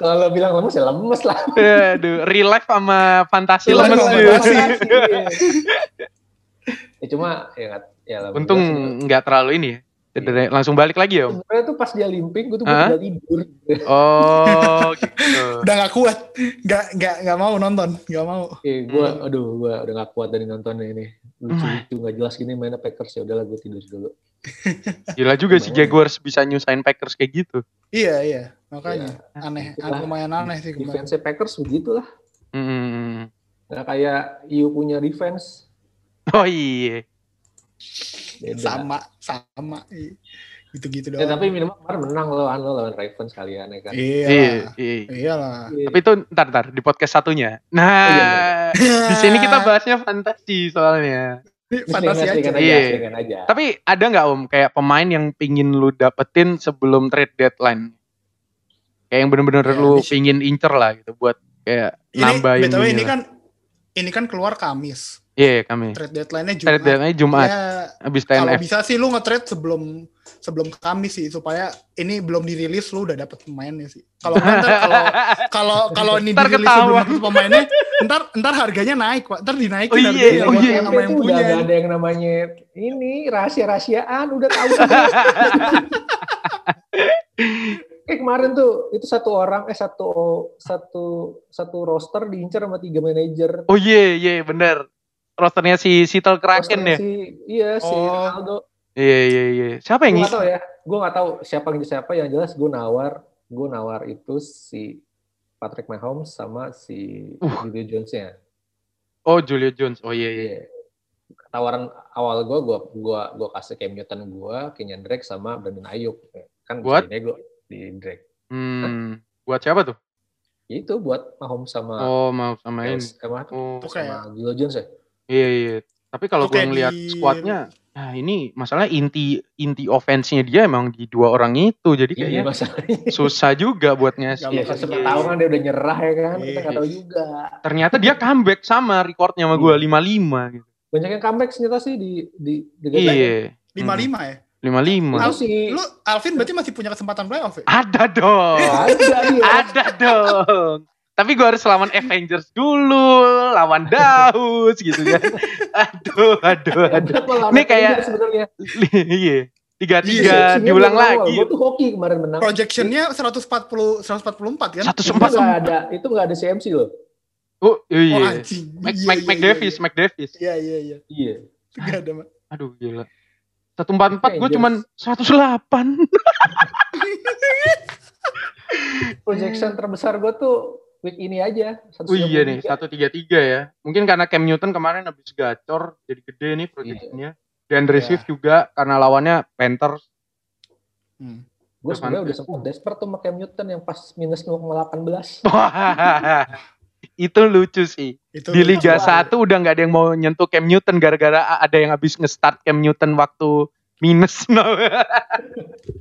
C: Kalau lo bilang lemes ya lemes lah.
B: Aduh, real life sama fantasi
A: Real life
B: Iya, lemes
A: sama
B: tuh.
A: fantasi.
C: iya. ya cuma ya nggak- ya lah,
B: Untung
C: sebenarnya-
B: nggak terlalu ini ya.
A: Iya.
B: Cedera- Langsung balik lagi ya Om.
C: sebenarnya tuh pas dia limping gue tuh
B: Hah?
C: udah tidur
B: Oh, gitu.
A: udah gak kuat, gak gak gak mau nonton, gak mau.
C: Oke, gue
A: Hmm.
C: aduh gue udah gak kuat dari nontonnya ini lucu
B: Hmm.
C: lucu nggak jelas gini mainnya Packers ya udahlah gue tidur dulu
B: Gila juga si Jaguars bisa nyusahin Packers kayak gitu.
A: Iya iya, makanya
C: Ya,
A: aneh,
B: Iya.
C: Gitu
A: aneh,
C: lah.
A: lumayan aneh sih kemarin.
C: defense Packers begitulah
B: Mm-mm.
C: nggak kayak IU punya defense
B: Oh iya.
C: Beda.
A: sama sama iya. gitu-gitu
B: Eh,
C: ya,
A: doang.
C: tapi minimal kemarin menang lawan lo lawan Ravens kalian ya kan
A: iya
B: Iya.
A: lah.
B: iya.
A: iya lah.
B: Tapi itu ntar ntar di podcast satunya. Nah,
C: Oh, iya,
B: di sini kita bahasnya fantasi soalnya.
A: Ini
C: Ini
A: fantasi aja.
C: seringan- seringan aja,
B: Iya.
C: seringan aja.
B: Tapi ada nggak om kayak pemain yang pingin lu dapetin sebelum trade deadline? Kayak yang bener-bener
A: Ya,
B: lu
A: ini sih-
B: pingin incer lah gitu buat kayak
A: Ini
B: nambahin.
A: btw ini
B: lah.
A: kan ini kan keluar Kamis.
B: Iya kami.
A: Trade deadline-nya Jumat.
B: Trade deadline Jumat
A: Ya,
B: abis
A: kalau
B: TNF.
A: bisa sih lu nge-trade sebelum sebelum Kamis sih supaya ini belum dirilis lu udah dapet pemainnya sih. Kalau nggak, ntar kalau kalau kalau ini
B: Ntar
A: dirilis
B: ketahuan.
A: sebelum dapet pemainnya, ntar ntar harganya naik, Pak. Ntar dinaikin
B: Oh, iya,
A: harganya
B: oh,
A: sama-
B: iya.
A: sama yang
C: Itu
A: punya.
C: udah nggak ada yang namanya ini rahasia-rahasiaan udah tahu. Kayak Eh, kemarin tuh itu satu orang eh satu satu satu roster diincar sama tiga manajer.
B: Oh iya iya bener. Rosternya si Seattle Kraken
C: Rosternya
B: ya.
C: Si, iya si
A: Oh.
C: Ronaldo.
B: Iya iya iya. Siapa yang
C: Gue nggak
B: ngisi?
C: tahu ya. Gue nggak tahu siapa yang siapa yang jelas gue nawar gue nawar itu si Patrick Mahomes sama si
B: Uh.
C: Julio Jones-nya.
B: Oh, Julio Jones. Oh iya iya.
C: Iya. Tawaran awal gue, gue gua, gua kasih Cam Newton gue, Kenyan Drake sama Brandon Ayuk. Kan bisa
B: Buat?
C: dinego di Drake.
B: Hmm. Buat siapa tuh?
C: Ya Itu buat Mahomes sama
B: Oh, mau sama ini.
C: Jones. Eh, Mahomes
B: Oh,
A: Itu kayak
C: sama Julio Jones ya?
B: iya iya. Tapi kalau
A: Itu
B: gue
A: kayak
B: ngeliat
A: di-
B: squadnya, nah ini masalah inti inti offense-nya dia emang di dua orang itu. Jadi
C: Iya,
B: kayaknya
C: masalahnya.
B: susah juga buat ngasih. gitu.
C: Iya,
A: Iya,
C: kan sempat
A: iya.
C: tahu kan dia udah nyerah ya kan. Kita
A: Iya.
C: nggak tahu juga.
B: Ternyata dia comeback sama recordnya sama
C: Iya.
B: gue 55 gitu.
C: Banyak yang comeback ternyata sih di di di
B: Iya,
A: lima lima ya.
B: Hmm.
C: Itu
B: 55.
C: sih Oh,
A: Lu Alvin berarti masih punya kesempatan playoff ya?
B: Ada dong.
C: ada dia.
B: Ada dong. Tapi gue harus lawan Avengers dulu, lawan Daus gitu kan. Aduh, aduh, aduh.
C: Ada pola
B: Ini kayak-
C: ketiga sebenarnya.
B: Iya. Tiga
A: Iya,
B: tiga diulang
C: Gue
B: lagi.
C: tuh hoki kemarin menang.
A: Projectionnya 140 144 kan?
B: Satu
C: Itu nggak
B: sempat.
C: ada, itu nggak ada CMC loh.
B: Oh
A: Oh
B: iya.
A: anjing. Iya,
B: Mike, Mike,
A: iya,
B: Mike
A: iya,
B: Davis,
A: iya.
B: Mike Davis.
A: Iya iya iya.
C: Iya.
A: Gak ada Mak.
B: Aduh gila. Satu empat empat, gue
C: Avengers.
B: cuman 108
C: Projection
A: Hmm.
C: terbesar gue tuh week ini aja.
B: Oh iya nih,
C: 193.
B: satu tiga tiga ya. Mungkin karena Cam Newton kemarin habis gacor, jadi gede nih proyeknya. Dan
A: Iya.
B: Swift juga karena lawannya Panthers.
A: Hmm.
C: Gue sebenarnya udah sempat desperate tuh sama Cam Newton yang pas minus 0,18.
B: itu lucu sih.
A: Itu
B: Di Liga 1
C: lucu.
B: udah nggak ada yang mau nyentuh Cam Newton gara-gara ada yang habis nge-start Cam Newton waktu minus. No.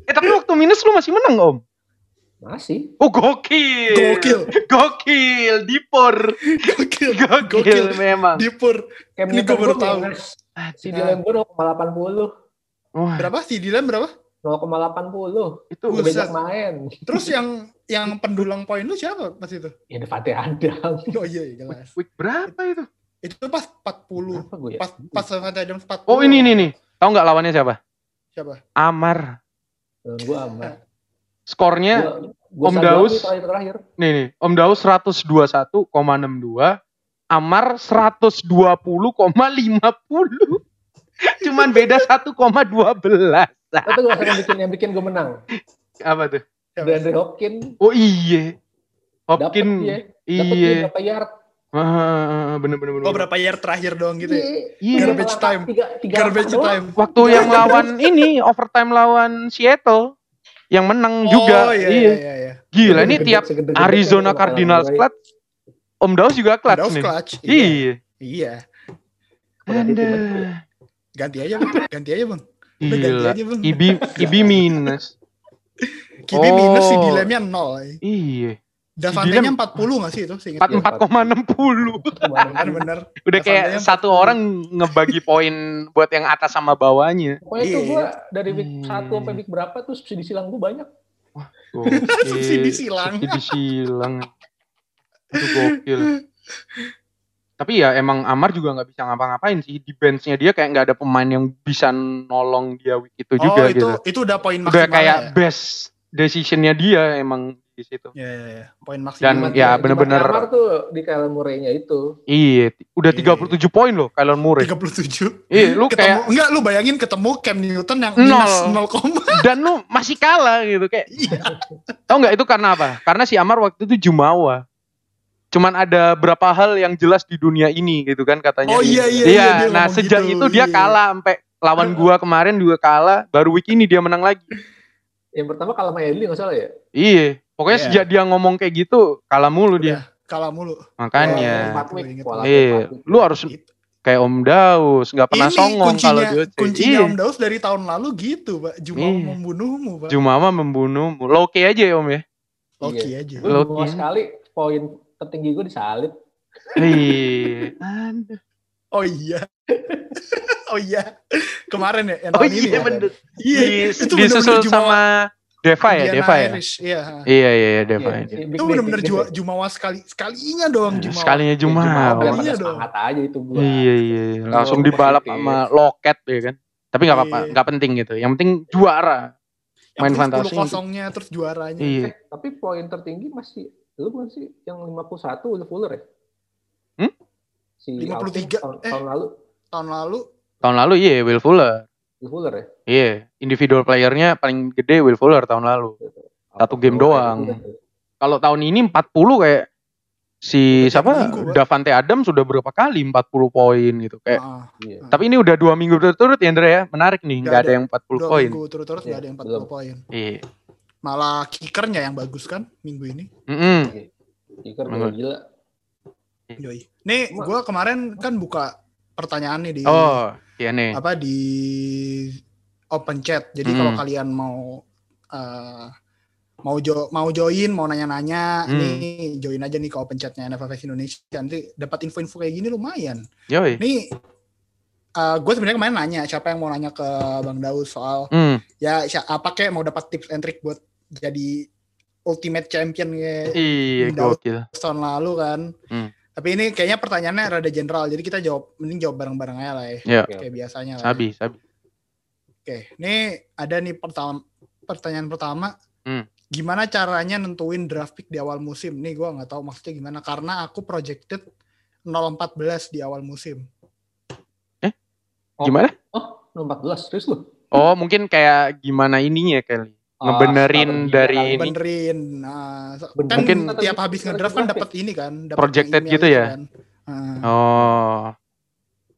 B: eh tapi waktu minus lu masih menang, Om.
C: Masih.
B: Oh gokil.
A: gokil.
B: Gokil, dipor.
A: Gokil.
B: Gokil,
A: Gokil.
B: memang.
A: Dipur
C: Cam
A: Ini
C: Newton
A: gua baru
C: gua
A: tahu.
C: minus. Si Dylan gue 0,80.
B: Wah,
A: berapa sih Dylan berapa?
C: 0,80.
B: itu
C: Udah
A: Buset.
C: banyak main.
A: Terus yang yang pendulang poin lu siapa pas itu?
C: Ya Devante Adams.
A: Oh iya, iya jelas. Iya.
B: week berapa itu?
A: Itu pas 40.
C: Apa gue ya?
A: Pas pas Devante Adams 40.
B: Oh ini nih nih. Tahu nggak lawannya siapa?
A: Siapa?
B: Amar.
C: Gue aman.
B: Skornya
C: Gua-
B: Ya, Om
C: gua salah
B: Daus.
C: nih Terakhir-terakhir.
B: nih nih. Om Daus 121,62. Amar 120,50. Cuman beda 1,12.
C: Itu gue yang bikin yang bikin gue menang.
B: Apa tuh?
A: Siapa?
C: DeAndre Hopkins.
B: Oh iya.
C: Dapet dia.
B: Hopkins.
C: Dapet dia
B: Iya.
C: berapa yard.
B: Ah, bener bener bener.
A: Oh berapa year terakhir doang gitu ya?
B: Iya.
A: Garbage time.
C: Tiga, tiga
A: Garbage
C: doang.
A: time.
B: Waktu yang lawan ini overtime lawan Seattle yang menang
A: Oh iya
B: juga. iya.
A: iya iya. iya.
B: Gila ini
C: Segede-
B: tiap
C: segede-gede
B: Arizona
C: kan
B: Cardinals
C: orang-orang
B: clutch. Om Daus juga clutch
A: Daus
B: nih.
A: clutch. Iya.
B: Iya.
A: Iya.
C: Udah
B: Anda.
C: ditimbang.
A: Ganti aja bang. Ganti aja bang. Udah ganti
B: Gila.
A: aja bang.
B: Ibi Ibi minus.
A: Kibi minus si
B: Oh.
A: Dilemnya 0.
B: Iya.
A: Davantenya
B: Dilem-
A: 40 gak sih itu? Seingat
B: Empat
A: gue.
B: empat koma enam puluh.
A: Kan bener.
B: Udah
A: Davantenya
B: kayak satu orang ngebagi poin buat yang atas sama bawahnya.
C: Pokoknya tuh
A: Iya.
C: gue dari week
B: Hmm.
C: 1 sampai week berapa tuh subsidi silang gue banyak.
B: Gokil.
A: Subsidi silang.
B: Subsidi silang. Aduh gokil. Tapi ya emang Amar juga nggak bisa ngapa-ngapain sih di benchnya dia kayak nggak ada pemain yang bisa nolong dia week itu
A: Oh
B: juga
A: itu
B: gitu.
A: itu udah poin
B: Udah
A: maksimal
B: kayak
A: ya?
B: best decisionnya dia emang di situ.
A: Iya, iya, iya. Poin
B: Dan
A: maksimal.
B: ya,
C: Jimat
B: bener-bener-
C: Kamar tuh di Kyle Murray-nya itu.
B: Iya, t- udah
A: Iya.
B: 37 poin loh Kyler Murray.
A: 37.
B: Iya, lu
A: ketemu,
B: kayak
A: enggak lu bayangin ketemu Cam Newton yang
B: Nol.
A: minus 0, koma.
B: dan lu masih kalah gitu kayak.
A: Iya.
B: Tau nggak itu karena apa? Karena si Amar waktu itu jumawa. Cuman ada berapa hal yang jelas di dunia ini gitu kan katanya.
A: Oh iya iya
B: Iya,
A: dia
B: nah
A: ngomong
B: sejak
A: gitu,
B: itu dia
A: iya.
B: kalah sampai lawan gua kemarin juga kalah, baru week ini dia menang lagi.
C: Yang pertama kalah sama Edli nggak salah ya?
B: Iya, pokoknya
A: Iya.
B: sejak dia ngomong kayak gitu kalah mulu dia.
A: Kalah mulu.
B: Makanya.
A: Iya.
C: 4 week.
A: Ingat.
C: Kuala
B: Kan, ya. Iya,
C: Lumpur.
B: lu harus
A: Itu.
B: kayak Om Daus, nggak pernah songong kalau
A: kuncinya,
B: dia.
A: kuncinya
B: Iya.
A: Om Daus dari tahun lalu gitu, Pak. Jumawa
B: Iya.
A: membunuhmu, Pak.
B: Jumawa membunuhmu. Loke aja ya Om ya.
A: Loki aja.
C: Gue
B: Loki.
C: dua sekali poin tertinggi gue disalib.
B: Iya.
A: Oh iya. oh iya. Kemarin ya, yang
B: Oh
A: tahun ini.
B: iya
A: ya.
B: bener.
A: Iya,
B: Di-
A: itu
B: Disusul
A: bener-bener Jumawa
B: sama Deva ya,
A: Indiana
B: Deva ya.
A: Irish, Iya.
B: Iya iya iya Deva.
C: Iya,
B: iya.
C: si Big
A: Itu
C: Dick,
A: benar-benar
C: Big Dick.
A: Jumawa, Jumawa sekali sekalinya doang Jumawa.
B: Sekalinya
C: Ya, biar
B: Jumawa.
A: Iya
C: pada
A: dong.
C: semangat aja itu gue.
B: Iya iya. Langsung
C: Jumawa
B: dibalap
C: positif.
B: sama loket ya kan. Tapi nggak apa-apa,
A: Iya.
B: nggak penting gitu. Yang penting juara. Main fantasi.
A: kosongnya terus juaranya.
B: Iya.
C: Tapi poin tertinggi masih lu bukan sih yang 51 udah Fuller ya?
B: Hmm?
C: Si
A: 53,
C: Alvin tahun,
A: eh.
C: tahun lalu
A: Tahun lalu
B: Tahun lalu iya Will Fuller.
C: udah Fuller ya? gitu.
B: Iya, individual playernya paling gede Will Fuller tahun lalu. Satu game doang. Kalau tahun ini 40 kayak si
A: Udah tiap
B: siapa
A: minggu, Pak.
B: Davante Adams sudah berapa kali 40 poin gitu kayak.
A: Ah,
C: Iya.
B: Tapi ini udah dua minggu berturut-turut ya Andre ya. Menarik nih,
A: Nggak
B: nggak ada
A: ada.
B: yang 40
A: dua
B: poin.
A: minggu turut-turut nggak
C: Iya,
A: ada yang 40
C: belum.
A: poin.
B: Iya.
A: Malah kickernya yang bagus kan minggu ini.
B: Mm-mm.
C: Iker
B: Bener.
C: udah Iya. gila.
A: Yoi. Nih,
C: Ma-
A: gue kemarin kan buka pertanyaan nih di
B: Oh, iya nih.
A: apa di open chat. Jadi
B: Hmm.
A: kalau kalian mau eh, mau jo mau join, mau nanya-nanya,
B: Hmm.
A: nih join aja nih ke open chatnya NFFS Indonesia. Nanti dapat info-info kayak gini lumayan.
B: Yoi.
A: Nih, gue sebenarnya kemarin nanya siapa yang mau nanya ke Bang Daud soal
B: Hmm.
A: ya sya- apa kek mau dapat tips and trick buat jadi ultimate champion kayak
B: Iya,
A: Daud.
B: gokil.
A: tahun lalu kan.
B: Hmm.
A: Tapi ini kayaknya pertanyaannya rada general, jadi kita jawab mending jawab bareng-bareng aja lah ya.
B: Iya.
A: Kayak biasanya lah. ya.
B: Sabi, sabi.
A: Oke, ini ada nih pertama pertanyaan pertama.
B: Hmm.
A: Gimana caranya nentuin draft pick di awal musim? Nih gua nggak tahu maksudnya gimana karena aku projected 014 di awal musim.
C: Oh.
B: Gimana?
C: Oh, nomor 14 terus lu. Ah,
B: Oh, mungkin kayak gimana ininya
A: Hmm.
B: kali. Ngebenerin
C: strategi
B: dari
C: dalam-
B: ini.
A: Benerin. Nah, so-
C: Bener-
A: kan
B: Mungkin-
A: tiap habis ngedraft kan dapat ini kan, dapat
B: Projected
A: email
B: gitu
A: itu
B: ya?
A: kan. Heeh.
B: Oh.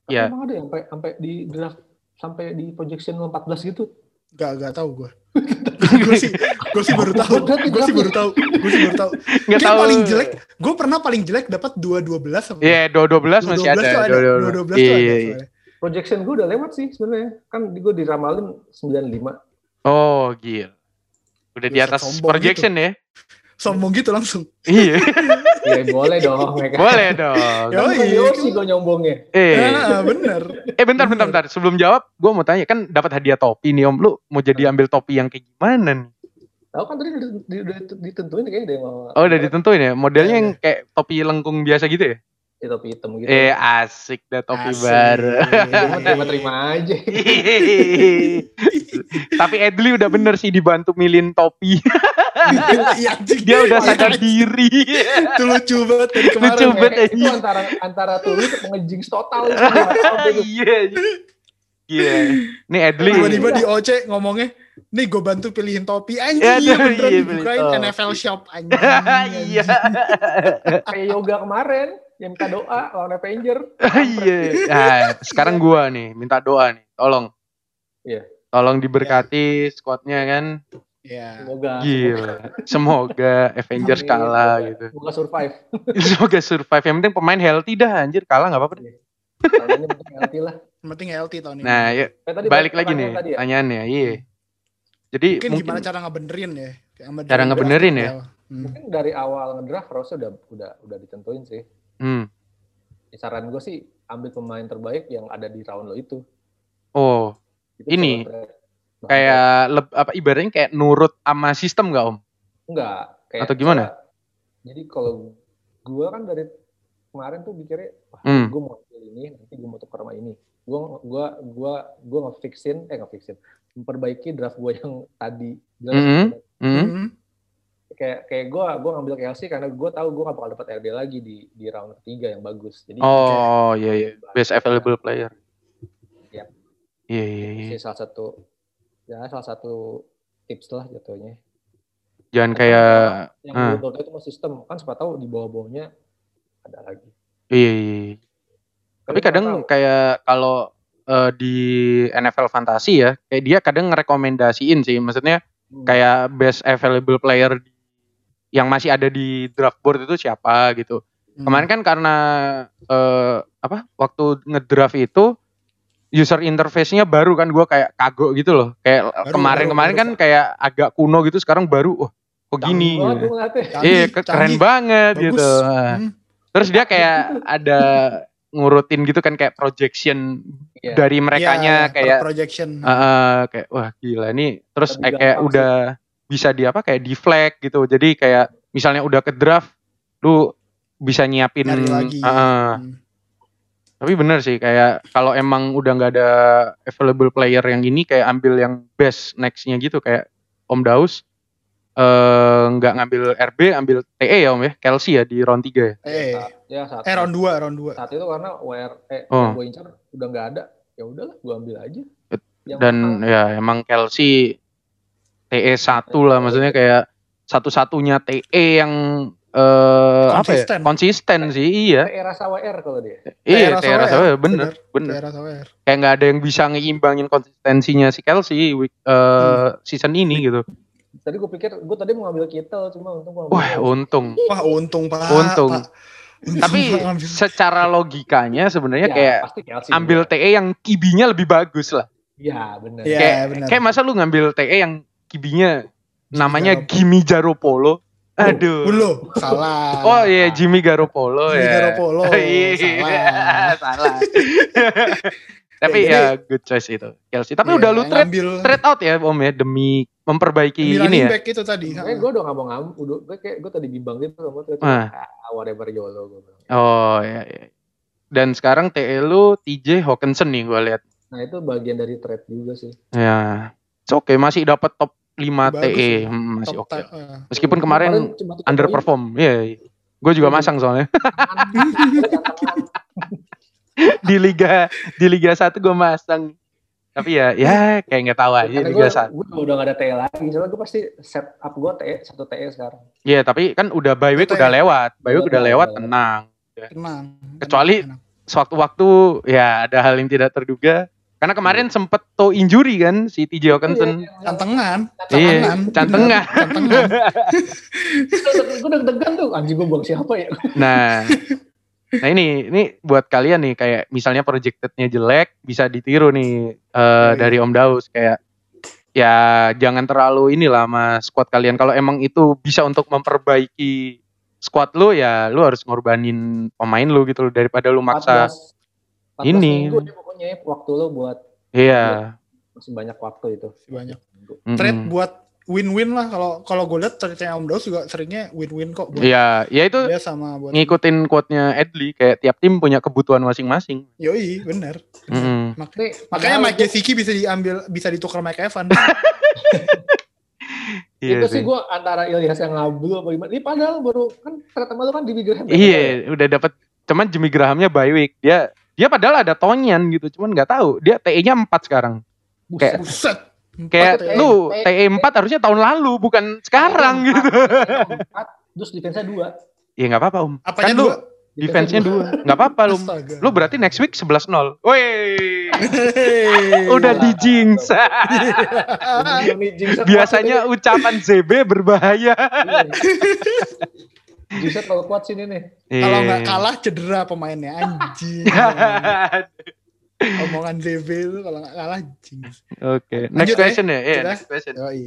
C: Tapi
B: Iya.
C: Emang ada yang sampai sampai di draft sampai di projection nomor 14 gitu.
A: Gak, gak tahu gue. gue sih, gue sih baru tahu. Gue sih baru tahu. Gue sih baru tahu.
B: Nggak
A: Kayak
B: tahu.
A: paling jelek, gue pernah paling jelek dapat 2-12 sama.
B: Iya, 2-12 masih ada.
A: 2-12 tuh ada.
B: Iya, iya.
A: soalnya.
C: Projection gue udah lewat sih sebenarnya. Kan gue diramalin 95.
B: Oh, gila. Udah di
A: Buset,
B: atas
A: sombong gitu.
B: projection ya.
A: Sombong gitu langsung.
B: Iya,
C: ya boleh dong mereka.
B: boleh dong.
A: Yo,
C: Kan
A: iya.
C: Yosi gue nyombongnya.
B: Eh,
A: Ah, bener.
B: eh bentar, bentar,
A: Iya.
B: bentar. Sebelum jawab, gue mau tanya kan dapat hadiah topi nih Om. Lu mau jadi ambil topi yang kayak gimana nih?
C: Tahu kan tadi udah- di- udah ditentuin kayaknya ada yang mau.
B: Oh, udah ditentuin ya. Modelnya
A: Iya,
B: yang kayak topi lengkung biasa gitu ya?
C: Ya, topi hitam gitu.
B: Eh, iya. asik dah topi
A: Asik.
B: baru.
C: Cuma terima-terima aja.
B: Tapi Edli udah bener sih dibantu milin topi.
A: Iya, anjing.
B: Dia udah sadar
A: Iya,
B: diri.
A: Itu lucu banget dari kemarin.
B: Lucu banget.
C: Kayak itu antara antara tulus ngejinx total. Gitu.
B: Iya. Iya. Nih Edli.
A: Tiba-tiba di OC ngomongnya, nih gue bantu pilihin topi. Anjing,
B: Iya,
A: iya beneran
B: iya,
A: dibukain
B: beli topi.
A: NFL shop. Anjing.
B: Iya.
A: anjing.
C: Kayak yoga kemarin yang minta doa lawan Avenger.
B: Iya. Nah, sekarang gua nih minta doa nih. Tolong.
C: Iya.
B: Tolong diberkati squadnya kan.
A: Iya.
C: Ah, Semoga
B: Gila. Semoga Avengers
C: Amin.
B: kalah gitu.
C: semoga survive.
B: Semoga survive. Yang penting pemain healthy dah anjir kalah nggak apa-apa. deh.
C: Tahun ini mungkin LT lah.
A: Yang penting LT tahun ini.
B: Nah, yuk
C: Kayak Eh, tadi
B: balik lagi
C: pertanyaan
B: nih
C: tadi ya.
B: tanyaannya. Iya. Jadi
A: mungkin,
B: mungkin,
A: gimana cara ngebenerin ya? Kayak ngebenerin
B: Cara
A: draft
B: ngebenerin ya?
A: pick Hmm.
C: Mungkin dari awal ngedraft harusnya udah udah udah ditentuin sih.
B: hmm.
C: Ya, Saran gue sih ambil pemain terbaik yang ada di round lo itu.
B: Oh,
C: Itu
B: Ini,
C: kalau tra- bahan
B: kayak leb- apa ibaratnya kayak nurut sama sistem nggak om?
C: Enggak. Kayak
B: Atau gimana?
C: misalnya- jadi kalau gue kan dari kemarin tuh mikirnya, wah
B: Hmm.
C: gue mau ambil ini, nanti gue mau tukar sama ini. Gue gua gua gua ngefixin, eh ngefixin, memperbaiki draft gue yang tadi. Jelas
B: Mhm. Hmm?
A: Hmm.
C: kayak kayak gue gue ngambil KLC karena gue tahu gue gak bakal dapat RB lagi di di round ketiga yang bagus. Jadi
B: Oh, iya iya. Best available player.
C: Yap.
B: Iya iya
C: itu
B: iya.
C: sih salah satu ya salah satu tips lah jatuhnya.
B: Jangan kayak
C: Yang
B: Ah.
C: gue itu mau sistem kan siapa tahu di bawah-bawahnya ada lagi.
B: iya iya. iya. Tapi
C: Karena
B: kadang
C: nggak tahu.
B: kayak kalau eh, di NFL fantasi ya, kayak dia kadang ngerekomendasiin sih. Maksudnya
C: Hmm.
B: kayak best available player di- yang masih ada di draft board itu siapa gitu.
A: Hmm.
B: Kemarin kan karena eh, apa waktu ngedraft itu user interface-nya baru kan gua kayak kagok gitu loh. Kayak
A: Baru,
B: kemarin-kemarin
A: baru,
B: kan kayak agak kuno gitu sekarang baru wah kok
C: Canggih
B: gini.
C: banget gue ngeliatnya.
A: Canggih,
B: Iya, ke- keren
A: canggih.
B: banget
A: Bagus.
B: gitu. Nah,
A: Hmm.
B: Terus dia kayak ada ngurutin gitu kan kayak projection
C: Iya.
B: dari
A: Iya,
B: merekanya kayak
A: projection.
B: eh, eh, kayak wah gila nih. Terus
C: Lebih
B: eh, kayak
C: gampang
B: udah bisa di apa kayak deflect gitu. Jadi kayak misalnya udah ke draft lu bisa nyiapin
A: Nyari lagi.
B: eh, eh,
A: Hmm.
B: tapi bener sih kayak kalau emang udah nggak ada available player yang ini kayak ambil yang best nextnya gitu kayak Om Daus eh, nggak ngambil RB ambil TE ya Om ya Kelsey ya di round 3 ya.
A: Eh,
C: Saat- ya saat,
A: eh round 2, round 2.
C: saat itu karena WR eh
B: Oh.
C: gue incer udah nggak ada. Ya udahlah gue ambil aja.
B: Dan ya emang Kelsey TE 1 lah E maksudnya kayak satu-satunya TE yang eh apa ya?
A: Konsisten.
B: Konsisten sih, iya.
C: eh, Era Sawer kalau dia.
B: Iya,
A: Daerah
B: Tera
A: Sawer,
B: Sawer, bener,
A: Iya.
B: bener.
A: Daerah Sawer.
B: Kayak nggak ada yang bisa ngeimbangin konsistensinya si Kelsey week, eh, season ini gitu.
C: Tadi gue pikir gue tadi mau ngambil Kittle cuma untung gue
B: Wah, oh, untung.
A: Wah untung pak.
B: Untung.
A: Pak. Untung,
B: Tapi
A: Pak, ngambil.
B: secara logikanya sebenarnya ya kayak
C: Ya, pasti Kelsey.
B: ambil TE yang kibinya lebih bagus lah.
C: Ya benar.
A: Iya,
B: kayak,
A: benar.
B: kayak masa lu ngambil TE yang kibinya namanya
A: Garoppolo.
B: Jimmy Garoppolo. Aduh.
A: Ulu, salah.
B: Oh iya Jimmy Garoppolo
A: Jimmy
B: ya.
A: Garoppolo,
B: Iya, salah.
A: Jadi-
B: Tapi ya good choice itu. Kelsey. Tapi udah lu trade
A: Iya, ngambil
B: trade out ya Om ya demi memperbaiki
A: ambil
B: ini
A: running
B: ya.
A: back itu tadi.
C: Kayak gue udah nggak mau ngam, udah gue kayak gue tadi bimbang gitu sama tuh.
B: Ah.
C: Ah, whatever YOLO gue bilang.
B: Oh iya, iya. Dan sekarang TE lu TJ Hawkinson nih gua lihat.
C: Nah itu bagian dari trade juga sih.
B: Ya. It's okay, masih dapat top 5
A: Bagus
B: TE,
A: ya.
B: Hmm, masih
A: Top
B: oke.
A: type, eh.
B: Meskipun kemarin
C: Nah, cuma tiga poin,
B: underperform. Iya. iya. Gue juga
C: Iya.
B: masang soalnya
C: tantangan.
B: di liga di liga 1 gue masang. Tapi ya ya kayak nggak tahu aja
C: Karena
B: liga
C: gue,
B: 1.
C: gue udah gak ada TE lagi, soalnya gue pasti set up gue TE, satu TE sekarang.
B: Iya, tapi kan udah bye week
A: Betul
B: udah
A: ya.
B: lewat. Bye week
C: Betul,
B: udah
C: betul,
B: lewat
C: betul.
B: tenang.
A: Tenang.
B: Kecuali-
A: Tenang,
B: Sewaktu-waktu ya ada hal yang tidak terduga. Karena kemarin sempet toe injury kan si TJ Hawkinson.
A: tenang.
C: iya.
A: Cantengan.
B: Iya,
A: Cantengan.
B: cantengan.
A: Cantengan.
C: Gue deg-degan tuh, anjing gue buang siapa ya?
B: Nah, nah ini ini buat kalian nih kayak misalnya projectednya jelek bisa ditiru nih eh, dari Om Daus kayak ya jangan terlalu inilah sama squad kalian kalau emang itu bisa untuk memperbaiki squad lu ya lu harus ngorbanin pemain lu gitu loh daripada lu maksa
C: 14
B: Ini.
C: minggu deh pokoknya ya, waktu lo buat
B: iya
C: masih banyak waktu itu.
A: Banyak.
B: mm-mm.
A: Trade buat win-win lah kalau kalau gue lihat ceritanya Om Daus juga seringnya win-win kok buat
B: iya ya itu
A: dia sama buat
B: ngikutin quote-nya Edli kayak tiap tim punya kebutuhan masing-masing
A: Yoi bener Mm-hmm.
B: Mm-mm.
C: Tapi,
A: makanya
C: padahal
A: Mike
C: gua-
A: Gesicki bisa diambil bisa ditukar Mike Evans
B: Iya
A: Iya
C: itu Iya sih
B: sih.
C: gue antara Ilyas yang ngablu apa gimana. Ini padahal baru kan ternyata lu kan di Graham.
B: Iya, udah dapat. Cuman Jimmy Grahamnya bye week. Dia dia padahal ada Tonyan gitu, cuman nggak tahu. Dia TE-nya 4 sekarang.
C: Buset.
A: buset
B: Kayak
A: Empat ya.
B: lu
C: TE.
B: TE 4 harusnya tahun lalu bukan sekarang
A: E
C: Empat,
B: gitu.
C: empat, Terus defense-nya dua.
B: Ya nggak apa-apa, Om.
A: apanya
B: kan lu
A: dua
B: defense-nya dua. Nggak apa-apa, lu.
A: Astaga.
B: Lu berarti next week 11-0. Woi.
A: Hei.
B: Udah
C: Iya.
B: di jinx.
A: Iya,
B: Biasanya ucapan ZB berbahaya.
C: Juset kalau Iya. kuat sini nih.
A: kalau
B: Iya.
A: nggak kalah cedera pemainnya anjing omongan DB itu kalau nggak kalah anjing
B: Oke,
A: Lanjut
B: next
A: ya.
B: question ya. Iya,
A: Kita.
B: next question.
A: Yoi.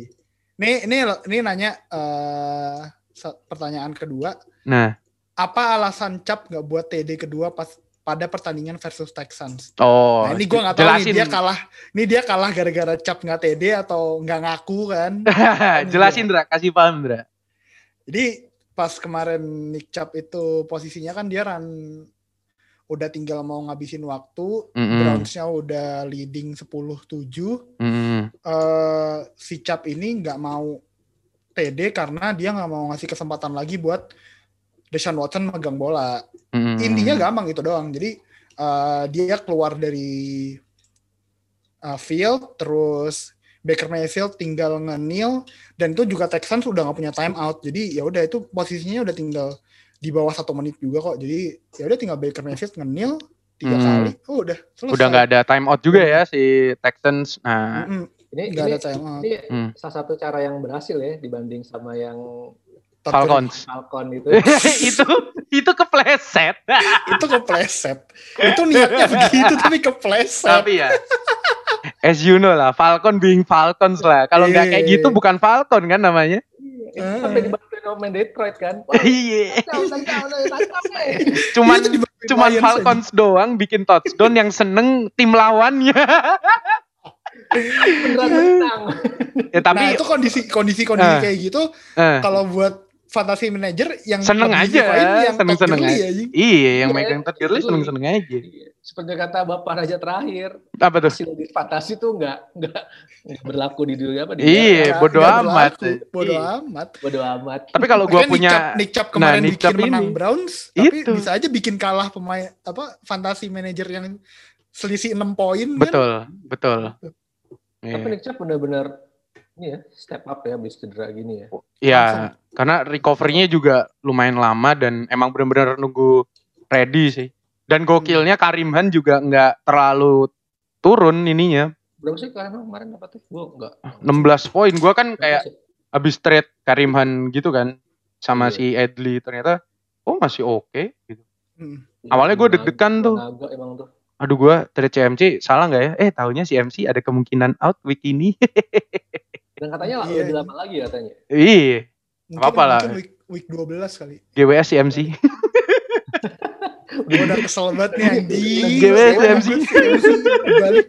A: nih nih nih nanya eh, sa- pertanyaan kedua
B: Nah,
A: apa alasan cap nggak buat TD kedua pas pada pertandingan versus Texans
B: oh.
A: Nah, ini gue nggak tahu nih
B: jelasin.
A: dia kalah, ini dia kalah gara-gara cap nggak TD atau nggak ngaku kan?
B: jelasin, Dra. Kasih paham, Dra.
A: Jadi pas kemarin Nick Cap itu posisinya kan dia run udah tinggal mau ngabisin waktu,
B: Mm-mm.
A: Browns-nya udah leading 10-7,
B: Mm.
A: eh, si Cap ini nggak mau TD karena dia nggak mau ngasih kesempatan lagi buat Deshaun Watson megang bola.
B: Mm.
A: intinya gampang itu doang jadi uh, dia keluar dari uh, field terus Baker Mayfield tinggal nge-kneel dan itu juga Texans udah nggak punya time out jadi ya udah itu posisinya udah tinggal di bawah satu menit juga kok jadi ya udah tinggal Baker Mayfield nge-kneel tiga
B: Hmm.
A: kali oh, udah selesai
B: udah nggak ada time out juga ya si Texans. Nah,
A: Mm-mm,
C: Ini,
A: nggak
C: ini,
A: ada time out
C: ini
B: Hmm.
C: salah satu cara yang berhasil ya dibanding sama yang
A: Tapi
B: Falcons.
C: Falcon gitu. itu.
B: Eh. itu itu kepleset.
A: itu kepleset itu niatnya begitu tapi kepleset
B: Tapi ya as you know lah Falcon being Falcons lah. Kalau nggak kayak
A: Iya.
B: gitu bukan Falcon kan namanya.
A: Eh.
C: Sampai dibantuin sama Detroit kan. Wah,
B: Iya.
C: kacau, kacau, kacau, eh.
B: Cuman
A: Iya, Itu dibantuin
B: cuman
A: Lions
B: Falcons doang bikin touchdown yang seneng tim lawannya.
C: Beneran menang.
B: ya
A: aja. nah
B: tapi
A: itu kondisi kondisi kondisi
B: Ah.
A: kayak gitu
B: eh,
A: kalau buat fantasy manager yang
B: Seneng
A: lebih
B: aja,
A: dipain yang
B: seneng-seneng
A: top
B: aja.
A: early anjing.
B: iya yang
C: Iya,
B: megang Todd Gurley
C: itu-
B: seneng-seneng aja.
C: Seperti kata Bapak Raja terakhir,
B: Apa tuh?
C: hasil di fantasi tuh nggak nggak nggak berlaku di dunia apa di
B: Iya,
A: Nggak-
B: bodo
A: nggak
B: amat.
A: berlaku, Nah, Bodo
B: Iya.
A: amat.
C: bodo amat.
B: Tapi kalau gua
A: Makanya Nick Chubb-
B: punya
A: Nick Chubb kemarin
B: Nick
A: bikin
B: Chubb
A: menang
B: ini.
A: Browns, tapi
B: Itu.
A: bisa aja bikin kalah pemain apa fantasy manager yang selisih 6 poin kan.
B: betul, betul. Iya.
C: Tapi Nick Chubb benar-benar ini ya step up ya abis cedera gini ya.
B: Ya, karena recovery-nya juga lumayan lama dan emang benar-benar nunggu ready sih. Dan gokilnya Karim Han juga nggak terlalu turun ininya.
C: Berapa sih karena kemarin dapatnya? Gue enggak.
B: 16 poin. Gua kan kayak habis trade Karim Han gitu kan sama
C: Iya.
B: si Edli ternyata oh masih oke gitu.
A: Hmm,
C: Iya,
B: Awalnya gue deg-degan tuh.
C: Naga emang tuh.
B: Aduh gua trade CMC salah nggak ya? Eh tahunya si MC ada kemungkinan out week ini.
C: Dan katanya lah,
A: Iya,
C: lebih
A: iya.
C: lama lagi katanya.
B: Ih,
A: Mungkin,
B: apa-apa lah.
A: mungkin week, week 12 kali.
B: GWS si MC.
A: Gue udah kesel banget nih anjing.
B: GWS, CMC.
A: CMC balik.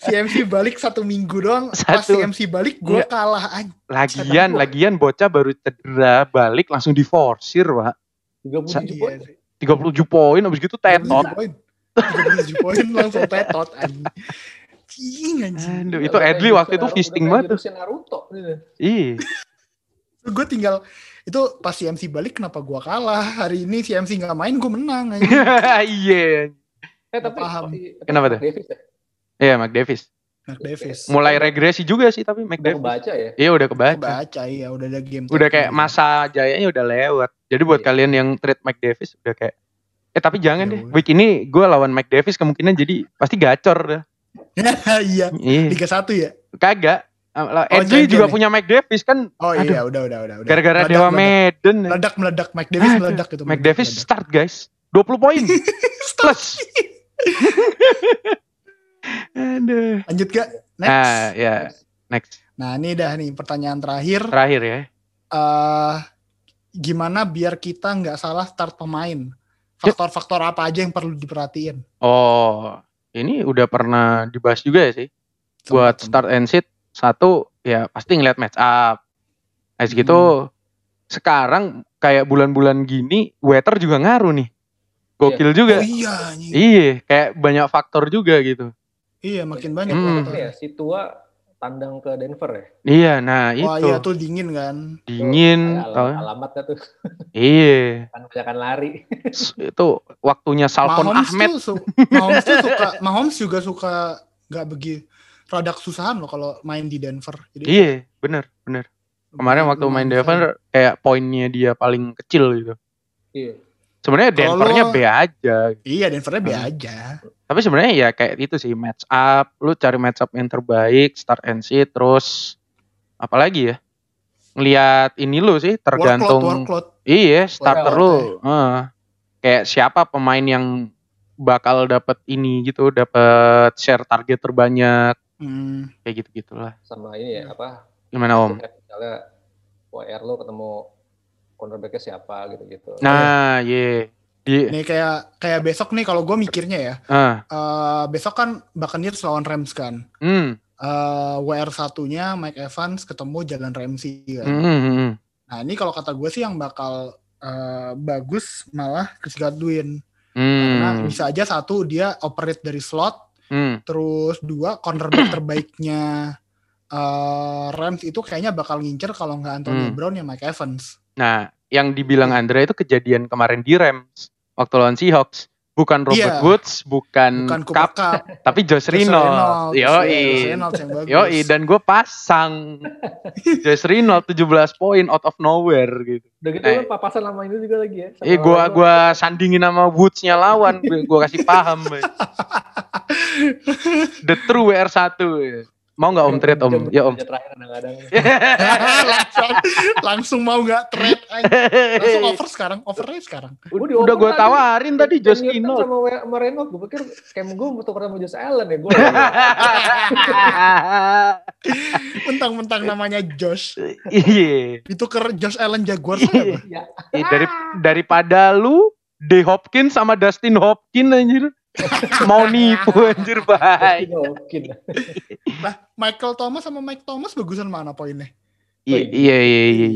A: CMC balik satu minggu doang. Pas
B: Satu.
A: CMC balik gue
B: Iya.
A: kalah anjing.
B: Lagian, lagian bocah baru cedera balik langsung diforsir, Pak.
A: Iya,
C: 37 poin.
B: 37 poin habis gitu tetot.
A: 37 poin. 37 poin langsung tetot anjing. Anjing anjing.
B: Aduh, itu Edli waktu itu fisting banget. tuh.
C: Udah kayak Naruto. gitu.
B: Ih,
A: Gue tinggal itu pas CMC balik kenapa gue kalah. Hari ini CMC nggak main gue menang anjing.
B: iya.
C: Eh tapi
A: Paham.
C: si-
B: Kenapa tuh?
C: Davis ya?
B: Iya, Mac Davis.
A: Mark Nah, Davis.
B: Mulai regresi juga sih tapi Mac
C: Udah
B: Davis.
C: kebaca ya.
B: Iya, udah kebaca.
A: Baca ya udah ada game.
B: Udah kayak masa jayanya udah lewat. Jadi buat
C: Iya.
B: kalian yang trade Mac Davis udah kayak Eh tapi jangan
A: Ya
B: deh.
A: udah.
B: Week ini gue lawan Mac Davis kemungkinan jadi pasti gacor dah.
A: Iya.
B: Iya.
A: Liga 1 ya.
B: Kagak. Eh, Lah,
A: Oh,
B: Edgy
A: jangan
B: juga
A: ya.
B: punya Mac Davis kan
A: Oh
B: Aduh.
A: iya udah udah udah. udah.
B: gara-gara
A: Meledak,
B: Dewa
A: meledak.
B: Medan. ya.
A: meledak meledak Mike Davis
B: Aduh,
A: meledak itu
B: Mac
A: meledak,
B: Davis
A: meledak.
B: start guys. 20 poin. Plus. Aduh.
A: lanjut gak next
B: Nah, ya. Next.
A: nah ini dah nih pertanyaan terakhir
B: Terakhir ya.
A: Eh gimana biar kita nggak salah start pemain faktor-faktor apa aja yang perlu diperhatiin
B: Oh, ini udah pernah dibahas juga ya sih. Buat
A: Tempat-tempat.
B: start and sit satu ya pasti ngeliat match up. Nah,
A: Hmm.
B: gitu. Sekarang kayak bulan-bulan gini weather juga ngaruh nih. Gokil juga.
A: oh iya anjing.
B: Iya, kayak banyak faktor juga gitu.
A: iya makin banyak
B: Hmm.
A: faktor.
C: Apa ya, si tua tandang ke Denver ya.
B: Iya, nah
A: wah
B: itu
A: iya tuh dingin kan
B: dingin,
C: Ada
B: tau. ya?
C: alam- alamatnya kan tuh
B: Iya.
C: kan kebanyakan lari.
B: S- itu waktunya Salvon
A: Mahomes
B: Ahmed.
A: tuh, su- Mahomes tuh suka Mahomes juga suka nggak begi rada kesusahan loh kalau main di Denver jadi
B: Iya, bener, bener.
A: Iya,
B: Kemarin waktu main Denver kayak poinnya dia paling kecil gitu.
C: Iya.
B: Sebenarnya
A: Kalau
B: Denvernya
A: lo-
B: B aja.
A: iya Denvernya biasa
B: Hmm.
A: aja
B: Tapi sebenarnya ya kayak itu sih match up, lu cari match up yang terbaik, start and sit, terus apalagi ya? Ngeliat ini lu sih
A: workload
B: tergantung
A: workload
B: iya starter
A: Workload,
B: lu. Heeh. kayak siapa pemain yang bakal dapat ini gitu, dapat share target terbanyak
A: Hmm.
B: kayak gitu-gitulah.
C: Sama ini ya apa?
B: Gimana Nah, Om?
C: kayak Misalnya WR lo ketemu cornerbacknya siapa gitu-gitu.
B: Nah, ye. Di
A: Nih kayak kayak besok nih kalau gue mikirnya ya,
B: ah,
A: eh, besok kan Buccaneers lawan Rams kan.
B: hmm,
A: Eh, WR satunya Mike Evans ketemu Jalan Ramsey kan.
B: hmm, hmm, hmm.
A: Nah ini kalau kata gue sih yang bakal eh, bagus malah Chris Godwin. Karena
B: Hmm.
A: bisa aja satu dia operate dari slot,
B: Hmm.
A: terus dua cornerback terbaiknya eh, Rams itu kayaknya bakal ngincer kalau nggak Antonio
B: Hmm.
A: Brown ya Mike Evans.
B: Nah, yang dibilang Andre itu kejadian kemarin di Rams waktu lawan Seahawks. Bukan Robert
A: Iya.
B: Woods, bukan,
A: Bukan
B: Hmm. Cup,
A: Cooper Cup,
B: tapi Josh
A: Josh Reynolds,
B: Reynolds. Yoi.
A: Josh Reynolds yang bagus.
B: Yoi, dan gue pasang Josh Reynolds 17 poin out of nowhere gitu.
C: Udah gitu
B: Eh.
C: lo papasan sama ini juga lagi ya.
B: Eh, gua gua sandingin sama Woods-nya lawan, gua kasih paham. Boy. The true WR1. Mau nggak Om trade Om? Ya Om. Iya,
C: Terakhir kadang-kadang.
A: langsung, langsung mau nggak trade aja. Langsung over sekarang, overnya sekarang.
C: Udah,
B: Udah gue tawarin Kan tadi Josh Reynolds.
C: sama W- sama Reynolds gue pikir kayak gue mau tukar sama Josh Allen ya gue
A: Mentang-mentang namanya Josh.
B: Iya.
A: Itu ke Josh Allen Jaguars apa?
C: ya
B: Iya, Dari daripada lu D Hopkins sama Dustin Hopkins anjir. Mau nipu anjir baik.
A: Iya.
C: mungkin
A: Michael Thomas sama Mike Thomas bagusan mana poinnya?
B: Iya iya iya iya.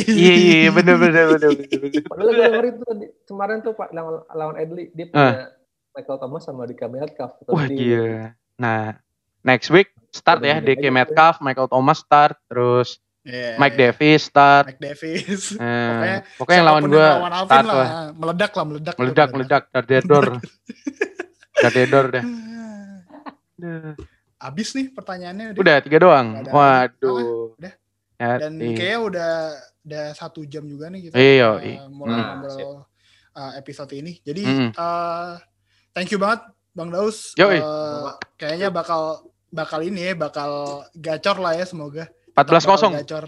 B: Iya iya bener bener bener bener. bener.
C: padahal gue dengerin tuh tadi, kemarin tuh pak lawan, lawan Edley dia punya Michael Thomas sama di Metcalf Cup
B: Ah. Wah gila. Nah, next week start ya DK Metcalf, Michael Thomas start, terus
A: Iya.
B: Mike Davis start.
A: Mike Davis.
B: Eh, pokoknya yang lawan
A: siapapun
B: gue
A: lawan Alvin
B: start
A: lah.
B: lah.
A: Meledak lah, meledak. tuh,
B: Nah. Meledak meledak dar dedor. Dar dedor dah.
A: Abis Ah, nih pertanyaannya. Dit.
B: Udah tiga doang.
A: Ada.
B: Waduh.
A: Ah,
B: Ya,
A: Udah. Dan
B: Hati.
A: kayaknya udah udah satu jam juga nih kita
B: Iya,
A: uh,
B: iya.
A: mulai
C: Hmm.
A: ngobrol uh, episode ini. Jadi
B: Hmm.
A: uh, thank you banget Bang Daus.
B: Yoi.
A: Uh, kayaknya bakal bakal ini ya, bakal gacor lah ya semoga.
B: 14 kosong.
A: Bakal Gacor.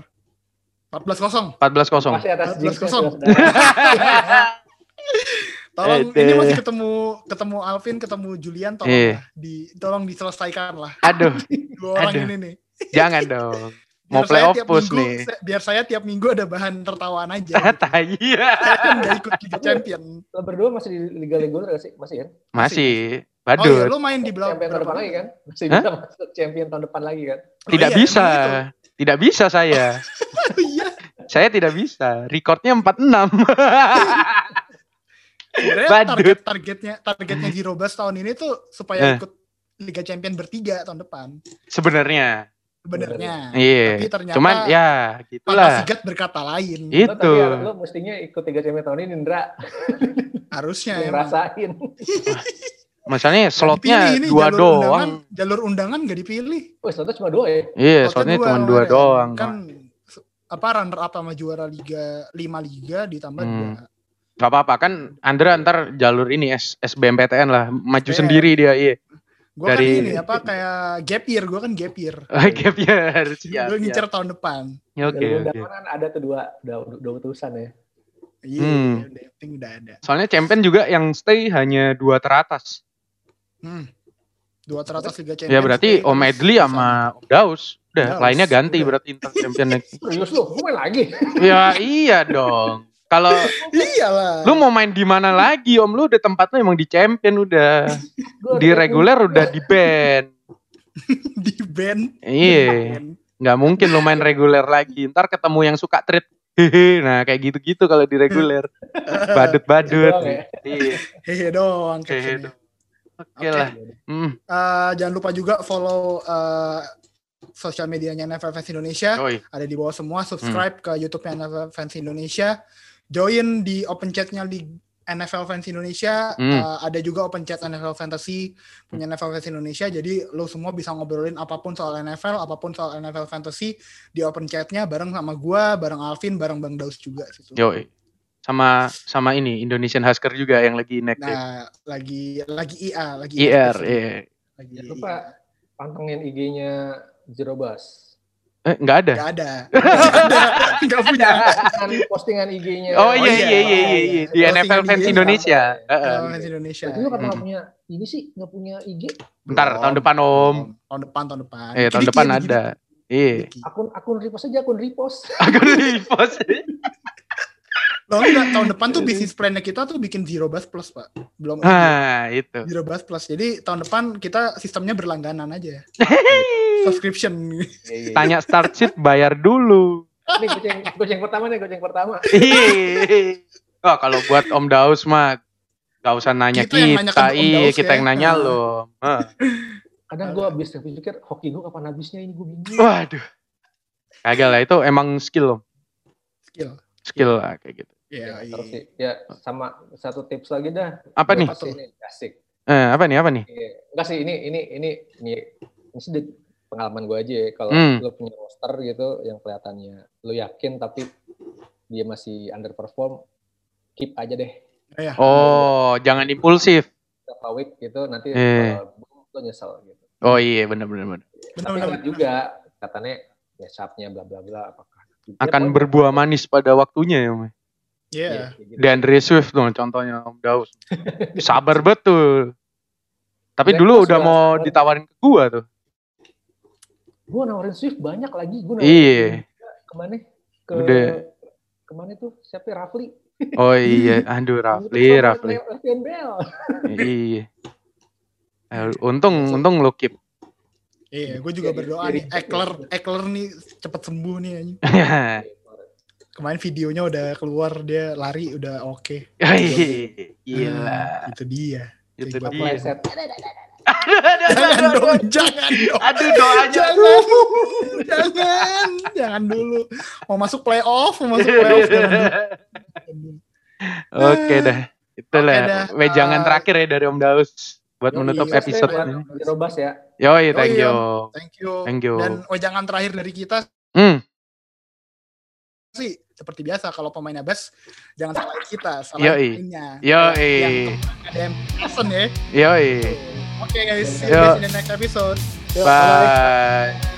A: 14 kosong.
B: 14 kosong.
C: Masih atas
A: 14
C: jinxnya,
A: kosong.
C: saudara-saudara.
A: Tolong
B: Eh,
A: ini
B: deh.
A: masih ketemu ketemu Alvin, ketemu Julian tolong
B: Iya.
A: lah. di tolong diselesaikan lah
B: Aduh,
A: dua orang
B: Aduh.
A: ini nih.
B: jangan dong.
A: Biar
B: Mau playoff
A: saya tiap
B: push
A: minggu,
B: nih.
A: saya- biar saya tiap minggu ada bahan tertawaan aja.
B: Tai.
A: saya kan nggak ikut Liga Champion.
C: Lo berdua masih di Liga Reguler gak sih? Masih kan?
B: Masih.
A: Oh iya,
B: Badut.
A: lu main di belakang
C: champion tahun depan lagi kan? Masih
B: Hah?
C: bisa masuk champion tahun depan lagi kan?
B: Tidak
A: Iya,
B: bisa.
A: emang gitu.
B: Tidak bisa saya.
A: Iya.
B: saya tidak bisa. Recordnya 46.
A: Sebenarnya
B: Badut.
A: target targetnya targetnya Zero Bus tahun ini tuh supaya
B: Eh.
A: ikut Liga Champion bertiga tahun depan.
B: Sebenarnya.
A: Sebenarnya. Nah, Tapi
B: Iya.
A: ternyata
B: Cuman ya
A: Pantas
B: gitulah.
A: Sigat berkata lain.
C: Lo tapi harus-
B: Itu.
C: lo mestinya ikut tiga champion tahun ini Indra.
A: Harusnya
C: Lo
A: Ya, emang.
C: ngerasain.
B: Masalahnya slotnya
A: Dipilih ini,
B: dua
A: jalur undangan,
B: doang.
A: jalur undangan gak dipilih.
C: Wih, satu cuma dua ya?
B: Iya,
A: Slotnya
B: slotnya cuma
A: kemarin.
B: dua doang.
A: Kan se- apa runner up sama juara liga 5 liga ditambah
B: Hmm.
A: dua.
B: Gak apa-apa kan Andra ntar jalur ini S SBMPTN lah maju
A: SBM.
B: sendiri dia iya.
A: Gue kan
B: Dari-
A: ini apa kayak gap year, gue kan gap year.
B: Gap year. Siap,
A: Gue
B: siap.
A: ngincer tahun depan.
B: Ya, Oke
C: Jalur
B: oke.
C: undangan kan ada tuh dua, dua, dua utusan ya.
A: Iya,
B: Hmm.
A: udah, yang penting udah ada.
B: Soalnya champion juga yang stay hanya dua teratas.
A: Hmm. Dua teratas liga champions. Iya.
B: Ya berarti
A: League,
B: Om
A: terus
B: Edli
A: bisa.
B: sama Om Daus. Udah
A: Daus,
B: lainnya ganti
A: udah.
B: berarti ntar champion.
C: Serius lo, gue main lagi.
B: ya iya dong. Kalau
A: Iyalah.
B: lu mau main di mana lagi Om lu udah tempatnya emang di champion udah.
C: Gua
B: Di
C: udah-
B: reguler udah di band.
A: di band.
B: Iya. nggak mungkin lu main reguler lagi ntar ketemu yang suka treat hehe nah kayak gitu-gitu kalau di reguler badut badut
C: Doang ya.
B: iya
A: Hehe doang.
B: Hehe
A: captionnya.
B: doang. oke lah hmm.
A: Eh, jangan lupa juga follow eh sosial medianya NFFans Indonesia.
B: Yoi.
A: ada di bawah semua subscribe
B: Hmm.
A: ke YouTube NFL Fans Indonesia join di open chatnya di NFL Fans Indonesia
B: Hmm.
A: Uh, ada juga open chat NFL Fantasy punya NFL Fans Indonesia jadi lo semua bisa ngobrolin apapun soal NFL apapun soal NFL Fantasy di open chatnya bareng sama gua bareng Alvin bareng Bang Daus juga situ
B: Yoi. sama sama ini Indonesian Husker juga yang lagi naik deh.
A: nah lagi lagi IA lagi
B: IR
A: aktif.
B: iya.
A: lagi lupa
C: Jangan lupa pantengin IG-nya Jerobas.
B: eh nggak ada
A: nggak ada nggak ada nggak punya
C: Postingan, Kan postingan IG-nya.
A: Oh,
B: oh iya
A: iya,
B: iya iya iya, iya. di
A: Closing
B: NFL fans
A: Indonesia.
B: Indonesia Heeh.
A: NFL Oh, Fans Indonesia Hmm.
C: Berarti lo
B: Mm.
C: kenapa kan nggak punya ini sih? Nggak punya IG?
B: ntar
A: Belum.
B: tahun depan Om
A: tahun depan tahun depan
B: eh tahun
A: Dikit-dikit,
B: depan
A: dikit-dikit.
B: ada iya
A: Dikit.
C: Akun akun repost aja, akun repost.
B: aku di post
A: Loh enggak, tahun depan tuh bisnis plan-nya kita tuh bikin zero bus plus, Pak. Belum
B: nah itu
A: zero bus plus. Jadi tahun depan kita sistemnya berlangganan aja. Subscription. Iya.
B: tanya start sheet bayar dulu
C: Nih goceng, goceng pertama nih, goceng pertama.
B: Ih. Iya. Wah kalau buat Om Daus mah gak usah nanya
A: Kita yang
B: kita,
A: nanya ke Om
B: iya,
A: Daus
B: kita
A: ya.
B: yang nanya
A: Nah.
B: lo. Heeh.
C: Kadang gue habis pikir, hoki gue kapan habisnya ini gue bingung.
B: Waduh. Kagak lah itu emang skill Om.
A: Skill.
B: Skill lah kayak gitu.
A: Ya,
C: terus
A: iya.
C: sih, ya sama satu tips lagi dah.
B: Apa
C: Gua
B: nih?
C: pasti ini asik.
B: Eh, apa nih apa nih?
C: Iya. Enggak sih ini ini ini ini, ini sedikit pengalaman gue aja ya. Kalau
B: Hmm.
C: lo punya roster gitu yang kelihatannya lo yakin tapi dia masih underperform, keep aja deh
A: Ya,
B: Oh, jangan impulsif.
C: berapa week gitu nanti
B: Eh.
C: kalau boom, lo nyesel gitu.
B: Oh iya benar benar benar.
C: Tapi
A: benar-benar.
C: ingat juga katanya ya sharpnya bla bla bla apakah Ya,
B: Akan
C: pokoknya-
B: berbuah manis pada waktunya ya, Om.
A: Iya.
C: Iya, kayak gitu.
B: Dan Swift dong contohnya Om Daus. Sabar betul. Tapi
C: Black
B: dulu
C: Rose
B: udah
C: juga
B: mau
C: sabar.
B: ditawarin ke gua tuh.
C: gue nawarin Swift banyak lagi gue
B: Iya.
C: kemana ke
B: Udah.
C: kemana tuh siapa ya? Rafli
B: Oh iya, aduh Rafli, Rafli.
C: Rafli NBL
B: Iya. Eh, untung untung lo keep.
A: Iya, gue juga
C: Jadi-
A: berdoa
C: jadi-
A: nih Eckler, Eckler nih cepet sembuh nih anjing.
B: Nah.
A: Kemarin videonya udah keluar dia lari udah oke.
B: Oh, iya. Gila.
A: Hmm, itu dia.
B: Itu
A: Aduh,
B: dia.
C: Kepleset.
B: Aduh, aduh,
A: Jangan
B: aduh, aduh,
A: dong,
B: aduh.
A: jangan dong.
B: Aduh, doanya.
A: Jangan, jangan, jangan dulu. Mau masuk playoff, mau masuk playoff, jangan dulu.
B: Oke dah.
A: Oke dah.
B: Itulah wejangan
A: Eh,
B: terakhir ya dari Om Daus
A: yoi, Oh
B: buat
A: iya.
B: menutup
A: sukses
B: episode
A: deh,
B: ini.
C: Jerobas ya
B: Yoi, thank
A: Yoi,
B: you.
A: Thank you.
B: Thank you.
A: Dan wejangan terakhir dari kita
B: Hmm,
A: sih seperti biasa kalau pemainnya best jangan salahin kita,
B: Yoi.
A: salahin pemainnya.
B: Yoi.
A: Yang kemarin ada yang person ya.
B: yoi.
A: Oke guys, see you
B: Yo.
A: guys in the next episode.
C: Yuk,
B: Bye.